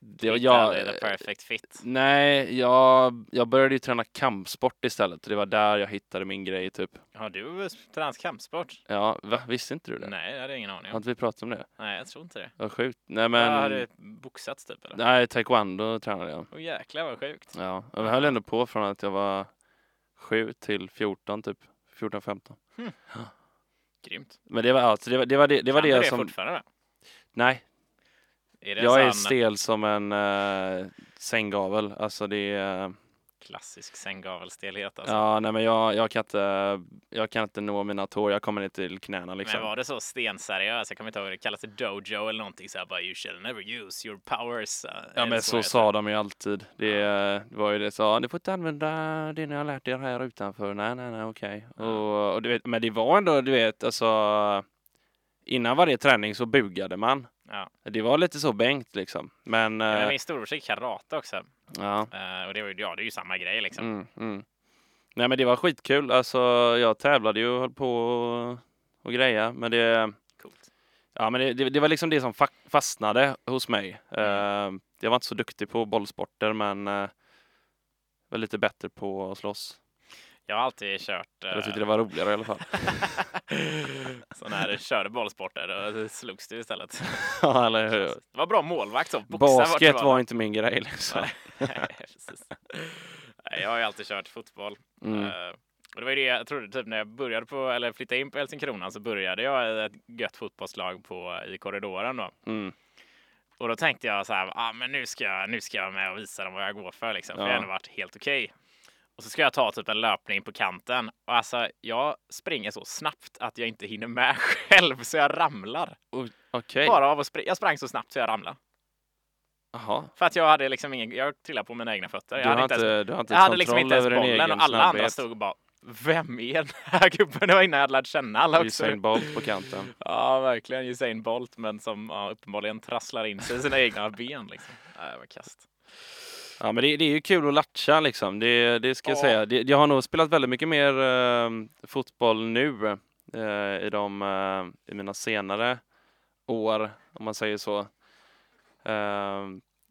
[SPEAKER 1] Det,
[SPEAKER 2] Hittade
[SPEAKER 1] jag,
[SPEAKER 2] aldrig the perfect fit.
[SPEAKER 1] nej, jag, jag började ju träna kampsport istället. Det var där jag hittade min grej typ.
[SPEAKER 2] Har du tränat kampsport?
[SPEAKER 1] Ja, va? Visste inte du det?
[SPEAKER 2] Nej, jag hade ingen aning
[SPEAKER 1] Har
[SPEAKER 2] om.
[SPEAKER 1] inte vi pratat om det?
[SPEAKER 2] Nej, jag tror inte det.
[SPEAKER 1] Vad sjukt. Nej
[SPEAKER 2] Men...
[SPEAKER 1] men,
[SPEAKER 2] Jag hade boxats typ eller?
[SPEAKER 1] nej taekwondo tränade jag.
[SPEAKER 2] Åh jäklar vad sjukt.
[SPEAKER 1] Ja, jag höll ändå på från att jag var 7 till 14 typ. 14, 15.
[SPEAKER 2] Grymt.
[SPEAKER 1] Men det var alltså, det var det, var det, det, var
[SPEAKER 2] Kan du
[SPEAKER 1] det som,
[SPEAKER 2] fortfarande?
[SPEAKER 1] nej,
[SPEAKER 2] Är det
[SPEAKER 1] jag
[SPEAKER 2] en
[SPEAKER 1] är
[SPEAKER 2] sån
[SPEAKER 1] stel som en eh, sänggavel. Alltså det är, eh,
[SPEAKER 2] klassisk sänggavelstelhet alltså?
[SPEAKER 1] ja nej men jag, jag kan inte, jag kan inte nå mina tår, jag kommer ner till knäna liksom.
[SPEAKER 2] Men var det så stenseriös? Jag kommer inte ihåg, det kallas det dojo eller någonting så här bara you shall never use your powers. eh,
[SPEAKER 1] Ja
[SPEAKER 2] eller
[SPEAKER 1] men så
[SPEAKER 2] heter
[SPEAKER 1] sa de ju alltid. Det eh, var ju det sa, ni får inte använda det ni har lärt er här utanför. Nej, nej, nej, okej. Och, och du vet, men det var ändå, du vet, alltså innan varje träning så bugade man.
[SPEAKER 2] Ja.
[SPEAKER 1] Det var lite så Bengt liksom. Men,
[SPEAKER 2] Ja, Men
[SPEAKER 1] eh,
[SPEAKER 2] min storebror gick karate också.
[SPEAKER 1] ja.
[SPEAKER 2] Eh, och det var ju, ja, det är ju samma grej liksom.
[SPEAKER 1] Mm, mm. Nej men det var skitkul. Alltså jag tävlade ju och höll på och, och greja. Men det,
[SPEAKER 2] Coolt.
[SPEAKER 1] ja, men det, det, det var liksom det som fa- fastnade hos mig.
[SPEAKER 2] Mm.
[SPEAKER 1] Eh, jag var inte så duktig på bollsporter men eh, var lite bättre på att slåss.
[SPEAKER 2] Jag har alltid kört
[SPEAKER 1] Jag tyckte
[SPEAKER 2] uh,
[SPEAKER 1] det var roligare i alla fall.
[SPEAKER 2] sån här körde bollsporter och slogs du istället.
[SPEAKER 1] ja, eller hur?
[SPEAKER 2] Det var bra målvakt så. boxa vart
[SPEAKER 1] Basket
[SPEAKER 2] det
[SPEAKER 1] var inte min grej liksom.
[SPEAKER 2] Nej, precis. Nej, jag har ju alltid kört fotboll.
[SPEAKER 1] Mm.
[SPEAKER 2] Eh, och det var ju det jag trodde, typ när jag började på, eller flyttade in på Helsingkrona så började jag i ett gött fotbollslag på, i korridoren då.
[SPEAKER 1] Mm.
[SPEAKER 2] Och då tänkte jag så här, ah, men nu ska, jag, nu ska jag med och visa dem vad jag går för liksom, för
[SPEAKER 1] Ja.
[SPEAKER 2] jag har ändå varit helt okej. Och så ska jag ta typ en löpning på kanten och alltså jag springer så snabbt att jag inte hinner med själv så jag ramlar.
[SPEAKER 1] Och- Okej,
[SPEAKER 2] Bara av att springa. Jag sprang så snabbt så jag ramlade.
[SPEAKER 1] jaha.
[SPEAKER 2] För att jag hade liksom ingen, jag trillade på mina egna fötter.
[SPEAKER 1] Du
[SPEAKER 2] Jag
[SPEAKER 1] har
[SPEAKER 2] hade inte
[SPEAKER 1] inte,
[SPEAKER 2] ens
[SPEAKER 1] du har inte
[SPEAKER 2] jag hade liksom
[SPEAKER 1] kontroll
[SPEAKER 2] inte ens
[SPEAKER 1] över din
[SPEAKER 2] bollen
[SPEAKER 1] egen
[SPEAKER 2] och alla andra
[SPEAKER 1] snabbhet.
[SPEAKER 2] stod och bara Vem är den här gubben? Det var innan jag hade lärt känna alla också.
[SPEAKER 1] Usain Bolt på kanten.
[SPEAKER 2] Ja, verkligen Usain Bolt, men som ja, uppenbarligen trasslar in sig i sina egna ben. Liksom. Nej, det var kast.
[SPEAKER 1] Ja, men det, det är ju kul att latcha liksom. Det, det ska jag
[SPEAKER 2] Ja.
[SPEAKER 1] säga. Det, jag har nog spelat väldigt mycket mer eh, fotboll nu eh, i, de, eh, i mina senare år, om man säger så. Eh,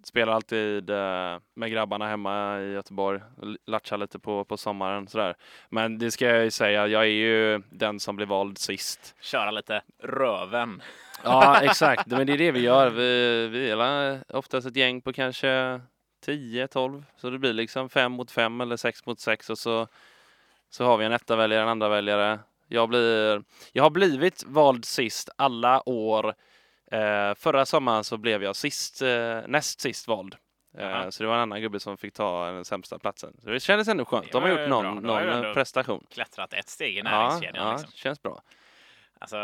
[SPEAKER 1] spelar alltid eh, med grabbarna hemma i Göteborg. L- Latchar lite på, på sommaren sådär. Men det ska jag ju säga, jag är ju den som blir vald sist.
[SPEAKER 2] Köra lite röven.
[SPEAKER 1] Ja, exakt. Men det är det vi gör. Vi, vi är la- oftast ett gäng på kanske 10-12. Så det blir liksom fem mot fem eller sex mot sex och så, så har vi en etta väljare, en andra väljare. Jag, blir, jag har blivit vald sist alla år. Eh, förra sommaren så blev jag sist, eh, näst sist vald. Eh,
[SPEAKER 2] Jaha.
[SPEAKER 1] så det var en annan gubbe som fick ta den sämsta platsen. Så det kändes ändå skönt.
[SPEAKER 2] Det
[SPEAKER 1] De har
[SPEAKER 2] var
[SPEAKER 1] gjort
[SPEAKER 2] ju bra.
[SPEAKER 1] någon,
[SPEAKER 2] Det var ju
[SPEAKER 1] någon
[SPEAKER 2] ändå-
[SPEAKER 1] prestation.
[SPEAKER 2] Klättrat ett steg i
[SPEAKER 1] Ja,
[SPEAKER 2] näringskedjan.
[SPEAKER 1] ja,
[SPEAKER 2] liksom.
[SPEAKER 1] känns bra.
[SPEAKER 2] alltså,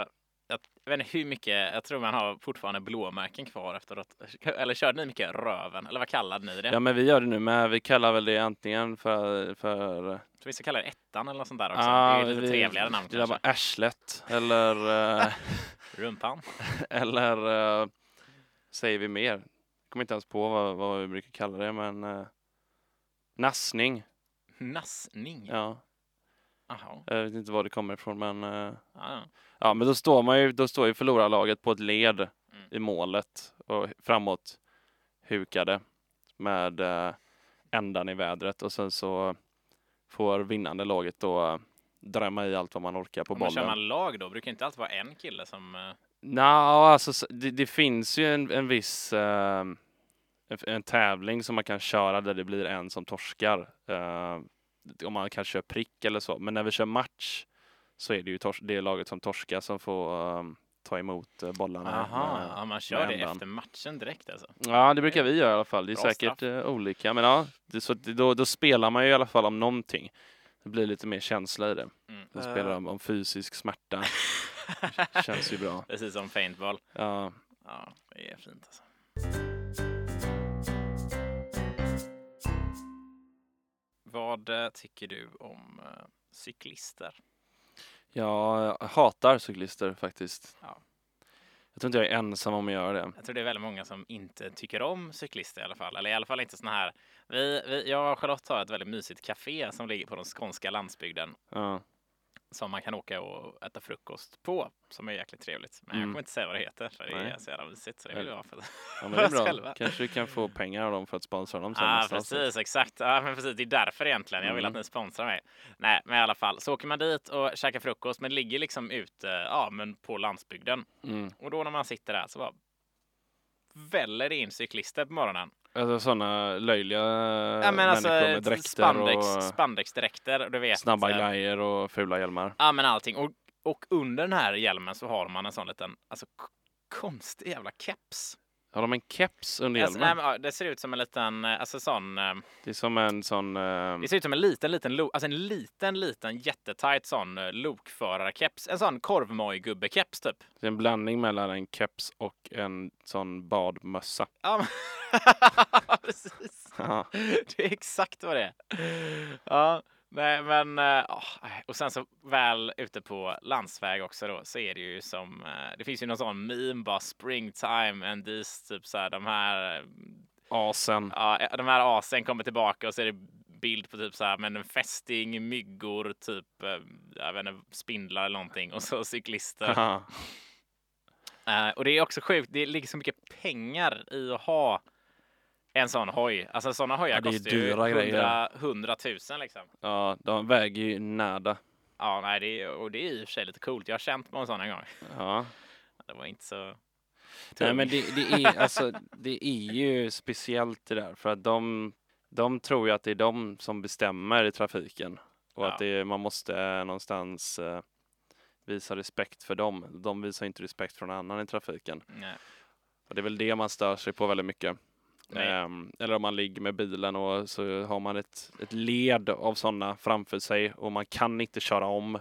[SPEAKER 2] jag vet inte hur mycket, jag tror man har fortfarande blåmärken kvar efteråt. Eller körde ni mycket röven? Eller vad kallade ni det?
[SPEAKER 1] Ja, men vi gör det nu med. Vi kallar väl det antingen för, för
[SPEAKER 2] Så vi ska kalla det ettan eller något sånt där också. det
[SPEAKER 1] Ja,
[SPEAKER 2] är ju lite
[SPEAKER 1] vi-
[SPEAKER 2] trevligare namn
[SPEAKER 1] Det där
[SPEAKER 2] kanske.
[SPEAKER 1] var arslet eller, eh,
[SPEAKER 2] Rumpan.
[SPEAKER 1] eller eh, säger vi mer? Kommer inte ens på vad, vad vi brukar kalla det, men eh, nassning.
[SPEAKER 2] Nassning.
[SPEAKER 1] Ja,
[SPEAKER 2] Jaha.
[SPEAKER 1] jag vet inte var det kommer ifrån, men eh,
[SPEAKER 2] Ja, ja.
[SPEAKER 1] ja, men då står man ju, då står ju förlorarlaget på ett led i målet och framåt hukade med eh, ändan i vädret och sen så får vinnande laget då drämma i allt vad man orkar på
[SPEAKER 2] Men kör
[SPEAKER 1] bollen.
[SPEAKER 2] man lag då? Brukar inte alltid vara en kille som... eh,
[SPEAKER 1] Nja, alltså s- det, det finns ju en, en viss ehm, en, en tävling som man kan köra där det blir en som torskar. Eh, om man kanske kör prick eller så. Men när vi kör match så är det ju tors- det laget som torskar som får ehm, ta emot eh, bollarna.
[SPEAKER 2] Aha,
[SPEAKER 1] med-
[SPEAKER 2] ja, man kör det
[SPEAKER 1] ändan.
[SPEAKER 2] efter matchen direkt alltså.
[SPEAKER 1] Ja, det brukar vi göra i alla fall. Det är
[SPEAKER 2] Bra
[SPEAKER 1] säkert eh, olika, men ja, det, så, att det, då, då spelar man ju i alla fall om någonting. Det blir lite mer känsla i det.
[SPEAKER 2] Mm.
[SPEAKER 1] Då spelar de om fysisk smärta. Känns ju bra.
[SPEAKER 2] Precis som paintball.
[SPEAKER 1] Ja.
[SPEAKER 2] Ja, det är fint alltså. Vad eh, tycker du om eh, cyklister?
[SPEAKER 1] Ja, Jag hatar cyklister faktiskt.
[SPEAKER 2] Ja.
[SPEAKER 1] Jag tror inte jag är ensam om att göra det.
[SPEAKER 2] Jag tror det är väldigt många som inte tycker om cyklister i alla fall, eller i alla fall inte såna här. Vi, vi, jag och Charlotte har ett väldigt mysigt café som ligger på den skånska landsbygden
[SPEAKER 1] Ja.
[SPEAKER 2] som man kan åka och äta frukost på som är jäkligt trevligt. Men jag
[SPEAKER 1] Mm.
[SPEAKER 2] kommer inte säga vad det heter för det är
[SPEAKER 1] Nej.
[SPEAKER 2] så jävla mysigt så det vill jag ha för
[SPEAKER 1] Ja, men det är
[SPEAKER 2] för oss
[SPEAKER 1] bra.
[SPEAKER 2] själva.
[SPEAKER 1] Kanske vi kan få pengar av dem för att sponsra dem sen
[SPEAKER 2] Ja, ah,
[SPEAKER 1] någonstans.
[SPEAKER 2] precis, exakt. Ja, men precis. Det är därför egentligen jag vill att
[SPEAKER 1] Mm.
[SPEAKER 2] ni sponsrar mig. Nej, men i alla fall så åker man dit och käkar frukost, men ligger liksom ute ja, men på landsbygden.
[SPEAKER 1] Mm.
[SPEAKER 2] Och då när man sitter där så bara väller det in cyklister på morgonen.
[SPEAKER 1] Alltså sådana löjliga
[SPEAKER 2] Ja, men alltså
[SPEAKER 1] människor med
[SPEAKER 2] ett
[SPEAKER 1] dräkter
[SPEAKER 2] spandex,
[SPEAKER 1] och
[SPEAKER 2] spandexdräkter. och Du vet,
[SPEAKER 1] snabba
[SPEAKER 2] så här-
[SPEAKER 1] glajjor och fula hjälmar.
[SPEAKER 2] Ja, men allting. Och, och under den här hjälmen så har man en sån liten, alltså k- konstig jävla keps.
[SPEAKER 1] Har de en keps under
[SPEAKER 2] Alltså,
[SPEAKER 1] hjälmen?
[SPEAKER 2] nej, men, ja, det ser ut som en liten, eh, alltså sån, eh,
[SPEAKER 1] Det är som en sån... ehm,
[SPEAKER 2] det ser ut som en liten, liten, lo- alltså en liten, liten jättetajt sån eh, lokförarkeps. En sån korvmoj-gubbekeps typ.
[SPEAKER 1] det är en blandning mellan en keps och en sån badmössa.
[SPEAKER 2] Ja, men... precis.
[SPEAKER 1] Ja.
[SPEAKER 2] Det är exakt vad det är. Ja, nej, men eh, ah, nej. och sen så väl ute på landsväg också då så är det ju som eh, det finns ju någon sån meme bara springtime and these typ så här de här eh,
[SPEAKER 1] Asen.
[SPEAKER 2] ja, eh, de här asen kommer tillbaka och så är det bild på typ så här men en fästing, myggor, typ eh, jag vet inte, spindlar eller någonting och så cyklister.
[SPEAKER 1] Ja.
[SPEAKER 2] Eh, och det är också sjukt. Det ligger så mycket pengar i att ha en sån hoj. Alltså såna hojar
[SPEAKER 1] Ja, det är ju
[SPEAKER 2] kostar ju
[SPEAKER 1] dyra grejer.
[SPEAKER 2] 100, 100 000 liksom.
[SPEAKER 1] ja, de väger ju nada.
[SPEAKER 2] Ja, nej, det är, och det är i och för sig lite coolt. Jag har känt på en sån en gång.
[SPEAKER 1] Ja.
[SPEAKER 2] Det var inte så...
[SPEAKER 1] Nej,
[SPEAKER 2] tung.
[SPEAKER 1] men det, det, är, alltså, det är ju speciellt det där, för att de, de tror ju att det är de som bestämmer i trafiken och
[SPEAKER 2] Ja.
[SPEAKER 1] att det är, man måste eh, någonstans eh, visa respekt för dem. De visar inte respekt för någon annan i trafiken.
[SPEAKER 2] Nej.
[SPEAKER 1] Och det är väl det man stör sig på väldigt mycket.
[SPEAKER 2] Nej.
[SPEAKER 1] Ehm, eller om man ligger med bilen och så har man ett, ett led av sådana framför sig och man kan inte köra om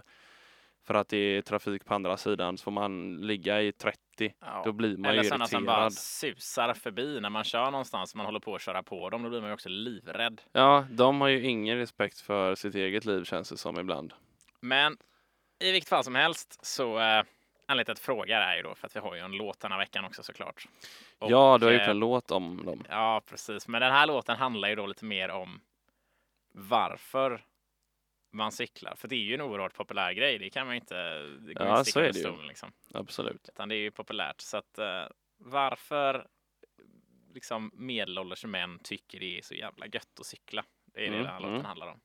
[SPEAKER 1] för att det är trafik på andra sidan så får man ligga i 30.
[SPEAKER 2] Ja.
[SPEAKER 1] Då blir man
[SPEAKER 2] Eller
[SPEAKER 1] ju
[SPEAKER 2] sådana
[SPEAKER 1] irriterad.
[SPEAKER 2] som bara susar förbi när man kör någonstans och man håller på att köra på dem. Då blir man ju också livrädd.
[SPEAKER 1] Ja, de har ju ingen respekt för sitt eget liv känns det som ibland.
[SPEAKER 2] Men i vilket fall som helst så eh, anledningen till att fråga är ju då för att vi har ju en låt den här veckan också såklart. Och,
[SPEAKER 1] ja, du har gjort
[SPEAKER 2] eh,
[SPEAKER 1] en låt om dem.
[SPEAKER 2] Ja, precis. Men den här låten handlar ju då lite mer om varför man cyklar. För det är ju en oerhört populär grej. Det kan man ju inte... Det går
[SPEAKER 1] Ja,
[SPEAKER 2] ju inte sticka
[SPEAKER 1] så är
[SPEAKER 2] under
[SPEAKER 1] det ju.
[SPEAKER 2] stolen, liksom.
[SPEAKER 1] Absolut.
[SPEAKER 2] utan det är ju populärt. Så att eh, varför liksom medelålders män tycker det är så jävla gött att cykla. Det är det
[SPEAKER 1] Mm,
[SPEAKER 2] den här låten
[SPEAKER 1] mm.
[SPEAKER 2] handlar om.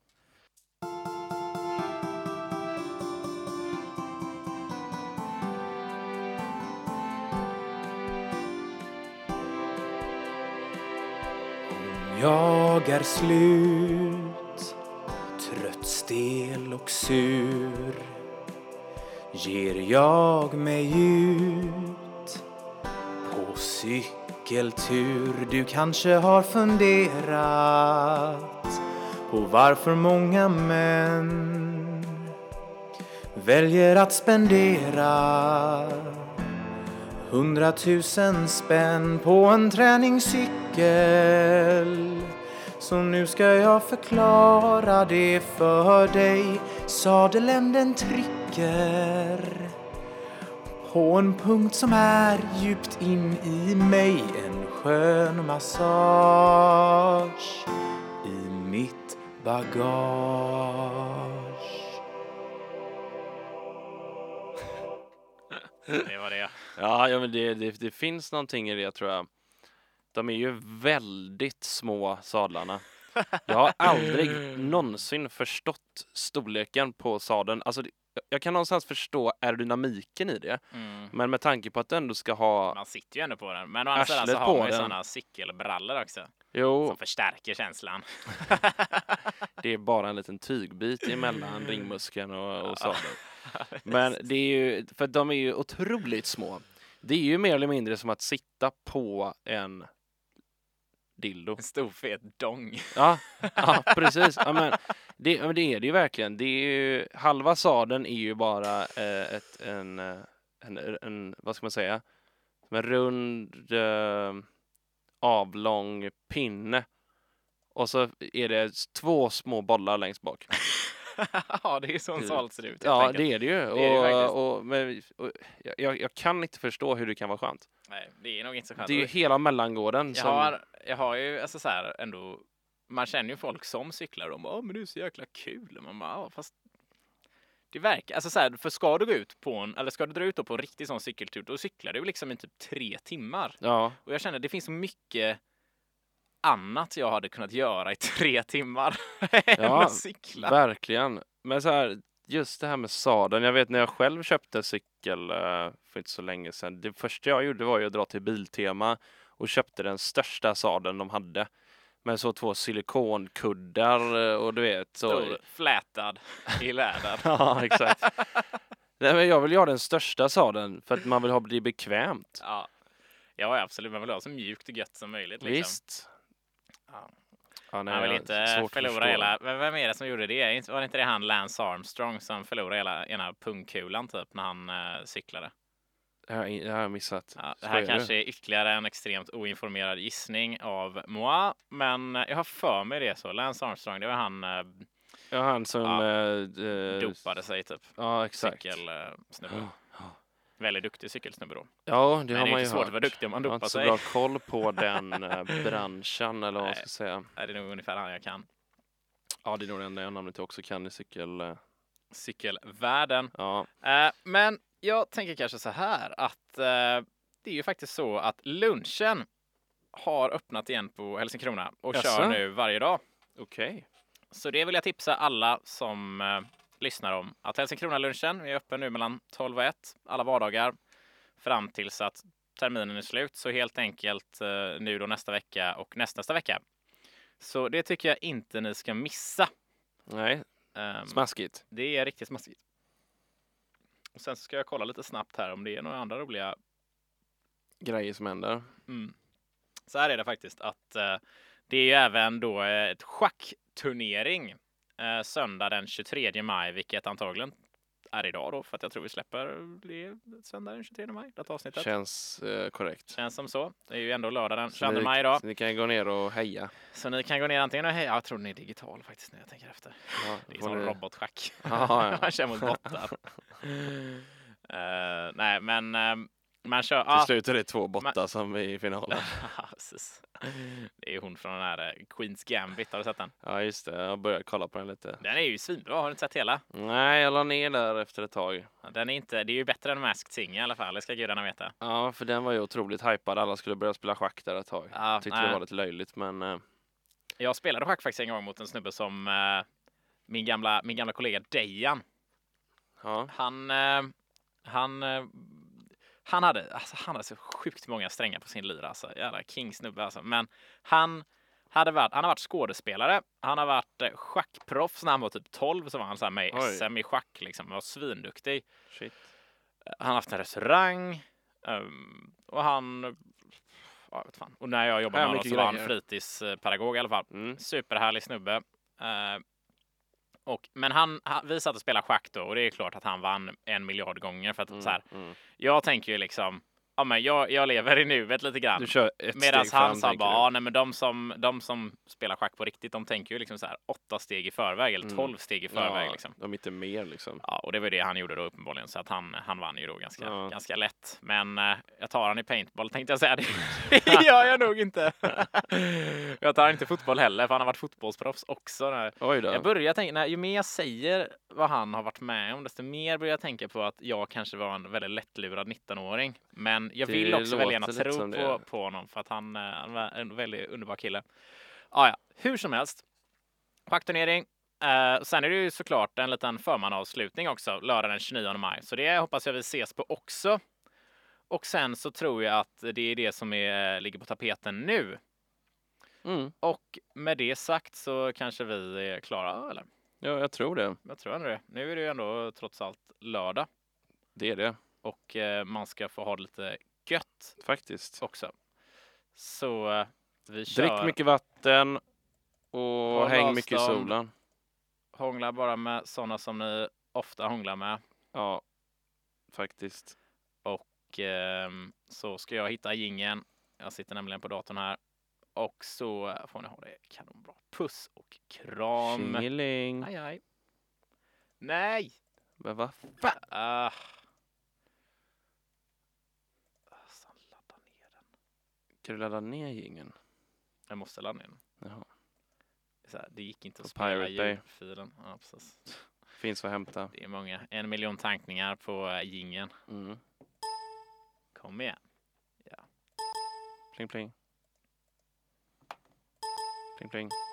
[SPEAKER 5] Jag är slut, trött, stel och sur. Ger jag mig ut på cykeltur. Du kanske har funderat på varför många män väljer att spendera Hundratusen spänn på en träningscykel Så nu ska jag förklara det för dig Sadeln den trycker På en punkt som är djupt in i mig En skön massage I mitt bagage
[SPEAKER 2] Det var det.
[SPEAKER 1] Ja, ja men det, det, det finns någonting i det tror jag. De är ju väldigt små sadlarna. Jag har aldrig någonsin förstått storleken på sadeln. Alltså, det- jag kan någonstans förstå aerodynamiken i det,
[SPEAKER 2] Mm.
[SPEAKER 1] men med tanke på att du ändå ska ha...
[SPEAKER 2] Man sitter ju ändå på den. Men å andra sidan så
[SPEAKER 1] Arslet
[SPEAKER 2] har
[SPEAKER 1] på
[SPEAKER 2] man ju
[SPEAKER 1] den. Oh.
[SPEAKER 2] sådana cykelbrallor också.
[SPEAKER 1] Jo,
[SPEAKER 2] Som förstärker känslan.
[SPEAKER 1] det är bara en liten tygbit emellan ringmuskeln och, och sadeln. Men det är ju, för de är ju otroligt små. Det är ju mer eller mindre som att sitta på en dildo.
[SPEAKER 2] En stor fet dong.
[SPEAKER 1] Ja, ja precis. Ja, men det, ja, men det är det ju verkligen. Det är ju, halva sadeln är ju bara eh, ett, en, eh, en, en, vad ska man säga, Som en rund eh, avlång pinne. Och så är det s- två små bollar längst bak.
[SPEAKER 2] ja, det är så en sadel ser ut. helt
[SPEAKER 1] Ja,
[SPEAKER 2] enkelt.
[SPEAKER 1] det är det ju.
[SPEAKER 2] är det ju faktiskt.
[SPEAKER 1] Och, och, men, och, jag, jag kan inte förstå hur det kan vara skönt.
[SPEAKER 2] Nej, det är nog inte så skönt.
[SPEAKER 1] Det är ju hela mellangården
[SPEAKER 2] Jag
[SPEAKER 1] som...
[SPEAKER 2] har, jag har ju alltså så här ändå. Man känner ju folk som cyklar och de bara, "Åh, men det är så jäkla kul. Och Man bara, "Ja, fast det verkar, alltså så här, för ska du gå ut på en, eller ska du dra ut då på en riktig sån cykeltur, då cyklar du liksom i typ tre timmar.
[SPEAKER 1] Ja,
[SPEAKER 2] Och jag känner, det finns så mycket annat jag hade kunnat göra i tre timmar än
[SPEAKER 1] Ja,
[SPEAKER 2] att cykla.
[SPEAKER 1] verkligen. Men så här, just det här med sadeln. Jag vet när jag själv köpte cykel eh, för inte så länge sedan. Det första jag gjorde var ju att dra till Biltema och köpte den största sadeln de hade. Med så två silikonkuddar eh, och du vet. Så...
[SPEAKER 2] Stor, flätad i läder.
[SPEAKER 1] Ja, exakt. Nej, men jag vill ju ha den största sadeln för att man vill ha det bekvämt.
[SPEAKER 2] Ja. ja, absolut. Man vill ha så mjukt och gött som möjligt. Liksom.
[SPEAKER 1] Visst.
[SPEAKER 2] Ja.
[SPEAKER 1] Ja, nej,
[SPEAKER 2] Man vill
[SPEAKER 1] jag- svårt
[SPEAKER 2] inte
[SPEAKER 1] att
[SPEAKER 2] förlora
[SPEAKER 1] förstå.
[SPEAKER 2] hela... Men vem är det som gjorde det? Inte- Var det inte det han Lance Armstrong som förlorade hela ena pungkulan typ när han eh, cyklade?
[SPEAKER 1] Det har jag in- det har jag missat.
[SPEAKER 2] Ja, det här
[SPEAKER 1] Skojar du?
[SPEAKER 2] kanske är ytterligare en extremt oinformerad gissning av moi, men jag har för mig det så. Lance Armstrong, det var han eh,
[SPEAKER 1] Ja, han som...
[SPEAKER 2] Ja.
[SPEAKER 1] eh, eh,
[SPEAKER 2] dopade sig typ.
[SPEAKER 1] Ja, exakt.
[SPEAKER 2] Cykelsnubbe.
[SPEAKER 1] Ja, ja.
[SPEAKER 2] eh, Väldigt duktig cykelsnubbe då.
[SPEAKER 1] Ja, det
[SPEAKER 2] Men
[SPEAKER 1] har
[SPEAKER 2] det är
[SPEAKER 1] man ju
[SPEAKER 2] inte svårt att
[SPEAKER 1] hört.
[SPEAKER 2] vara duktig om man
[SPEAKER 1] Jag
[SPEAKER 2] dopar
[SPEAKER 1] har inte så
[SPEAKER 2] sig.
[SPEAKER 1] bra koll på den eh, branschen eller vad man
[SPEAKER 2] Nej.
[SPEAKER 1] ska säga.
[SPEAKER 2] Nej, Det är nog ungefär han jag kan.
[SPEAKER 1] Ja, det är nog det enda jag namnet jag också kan i cykel. eh,
[SPEAKER 2] Cykelvärlden.
[SPEAKER 1] Ja,
[SPEAKER 2] Eh, men jag tänker kanske så här att eh, det är ju faktiskt så att lunchen har öppnat igen på Helsingkrona och
[SPEAKER 1] Jaså?
[SPEAKER 2] kör nu varje dag.
[SPEAKER 1] okej.
[SPEAKER 2] Så det vill jag tipsa alla som eh, lyssnar om. Att Helsingkrona-lunchen är öppen nu mellan 12 och 1 alla vardagar fram tills att terminen är slut. Så helt enkelt eh, nu då nästa vecka och nästnästa vecka. Så det tycker jag inte ni ska missa.
[SPEAKER 1] Nej,
[SPEAKER 2] Ehm,
[SPEAKER 1] smaskigt.
[SPEAKER 2] det är riktigt smaskigt. Och sen så ska jag kolla lite snabbt här om det är några andra roliga.
[SPEAKER 1] Grejer som händer.
[SPEAKER 2] Mm. Så här är det faktiskt att eh, det är ju även då eh, ett schackturnering eh, söndag den 23 maj, vilket antagligen är idag då, för att jag tror vi släpper det söndag den 23 maj, det här avsnittet.
[SPEAKER 1] Känns eh, korrekt.
[SPEAKER 2] Känns som så. Det är ju ändå lördag den
[SPEAKER 1] Så
[SPEAKER 2] 22
[SPEAKER 1] ni-
[SPEAKER 2] maj idag.
[SPEAKER 1] så Ni kan gå ner och heja.
[SPEAKER 2] Så ni kan gå ner antingen och heja, jag tror den är digital faktiskt när jag tänker efter.
[SPEAKER 1] Ja,
[SPEAKER 2] Det är
[SPEAKER 1] får
[SPEAKER 2] som
[SPEAKER 1] ni-
[SPEAKER 2] robotschack.
[SPEAKER 1] Ja, ja.
[SPEAKER 2] man kör mot bottar. Eh, nej, men ehm, man kör...
[SPEAKER 1] Till
[SPEAKER 2] ah,
[SPEAKER 1] slut är det två bottar som är i finalen.
[SPEAKER 2] precis. det är hon från den här eh, Queens Gambit, har du sett den?
[SPEAKER 1] Ja, just det. Jag började kolla på den lite.
[SPEAKER 2] Den är ju svinbra, har du inte sett hela?
[SPEAKER 1] Nej, jag la ner där efter ett tag.
[SPEAKER 2] Den är inte, det är ju bättre än Masked Singer i alla fall, det ska gudarna veta.
[SPEAKER 1] Ja, för den var ju otroligt hypad. Alla skulle börja spela schack där ett tag.
[SPEAKER 2] Ja,
[SPEAKER 1] Tyckte det
[SPEAKER 2] nej.
[SPEAKER 1] var lite löjligt, men eh,
[SPEAKER 2] Jag spelade schack faktiskt en gång mot en snubbe som eh, min, gamla, min gamla kollega Dejan.
[SPEAKER 1] ja.
[SPEAKER 2] Han, eh, han, eh, han, hade, alltså, han hade så sjukt många strängar på sin lyra. Alltså. Jävla kingsnubbe alltså. Men han, hade varit, han har varit skådespelare. Han har varit eh, schackproffs. När han var typ 12 så var han så här med i
[SPEAKER 1] Oj.
[SPEAKER 2] SM i schack. Liksom. Han var svinduktig. Eh,
[SPEAKER 1] Shit.
[SPEAKER 2] Han har haft en restaurang. ehm, och han... Ja, vet fan. Och när jag jobbade med
[SPEAKER 1] Ja,
[SPEAKER 2] honom
[SPEAKER 1] mycket
[SPEAKER 2] så var han
[SPEAKER 1] grejer.
[SPEAKER 2] fritidspedagog i alla fall.
[SPEAKER 1] Mm.
[SPEAKER 2] Superhärlig snubbe. Eh, och, men han, han, vi satt och spelade schack då och det är klart att han vann en miljard gånger. För att,
[SPEAKER 1] Mm,
[SPEAKER 2] så här,
[SPEAKER 1] mm.
[SPEAKER 2] jag tänker ju liksom, ja, men jag, jag lever i nuet lite grann.
[SPEAKER 1] Du kör ett
[SPEAKER 2] Medan
[SPEAKER 1] steg
[SPEAKER 2] han
[SPEAKER 1] fram,
[SPEAKER 2] sa
[SPEAKER 1] tänker
[SPEAKER 2] bara,
[SPEAKER 1] du.
[SPEAKER 2] "Ah, nej, men de som, de som spelar schack på riktigt, de tänker ju liksom så här åtta steg i förväg eller
[SPEAKER 1] Mm.
[SPEAKER 2] tolv steg i förväg.
[SPEAKER 1] Ja,
[SPEAKER 2] Liksom.
[SPEAKER 1] De är inte mer liksom.
[SPEAKER 2] Ja, och det var ju det han gjorde då uppenbarligen, så att han, han vann ju då ganska,
[SPEAKER 1] Ja.
[SPEAKER 2] ganska lätt. Men eh, jag tar han i paintball tänkte jag säga. Det det gör jag nog inte. jag tar inte fotboll heller, för han har varit fotbollsproffs också. När,
[SPEAKER 1] Oj då.
[SPEAKER 2] jag börjar tänka, när, ju mer jag säger vad han har varit med om, desto mer börjar jag tänka på att jag kanske var en väldigt lättlurad 19-åring. Men jag
[SPEAKER 1] Det
[SPEAKER 2] vill också
[SPEAKER 1] låter
[SPEAKER 2] väldigt gärna
[SPEAKER 1] lite
[SPEAKER 2] tro
[SPEAKER 1] som det.
[SPEAKER 2] på, på honom för att han, eh, han var en väldigt underbar kille. Ah, ja, hur som helst. Schackturnering. Eh, sen är det ju såklart en liten förmanavslutning också, lördag den 29 maj. Så det hoppas jag vi ses på också. Och sen så tror jag att det är det som är, eh, ligger på tapeten nu.
[SPEAKER 1] Mm.
[SPEAKER 2] Och med det sagt så kanske vi är klara, eller?
[SPEAKER 1] Ja, jag tror det.
[SPEAKER 2] Jag tror ändå det. Nu är det ju ändå trots allt lördag
[SPEAKER 1] Det är det
[SPEAKER 2] och eh, man ska få ha det lite gött
[SPEAKER 1] faktiskt.
[SPEAKER 2] också. Så eh, vi kör.
[SPEAKER 1] Drick mycket vatten och häng mycket i
[SPEAKER 2] avstånd.
[SPEAKER 1] solen.
[SPEAKER 2] Hångla bara med sådana som ni ofta hånglar med.
[SPEAKER 1] Ja, faktiskt.
[SPEAKER 2] Och, ehm, så ska jag hitta gingen. Jag sitter nämligen på datorn här. Och så eh, får ni ha det kanonbra. Puss och kram.
[SPEAKER 1] Tjingeling.
[SPEAKER 2] Aj, aj. Nej!
[SPEAKER 1] Men va?
[SPEAKER 2] Ah. Alltså, ladda ner den.
[SPEAKER 1] Kan du ladda ner jingeln?
[SPEAKER 2] Jag måste ladda ner den.
[SPEAKER 1] Jaha.
[SPEAKER 2] så här, det gick inte
[SPEAKER 1] På
[SPEAKER 2] att spela
[SPEAKER 1] Pirate Bay.
[SPEAKER 2] ljudfilen. Ja, precis.
[SPEAKER 1] Finns att hämta.
[SPEAKER 2] Det är många. En miljon tankningar på eh, gingen.
[SPEAKER 1] Mm.
[SPEAKER 2] Kom igen.
[SPEAKER 1] Pling pling. Pling pling.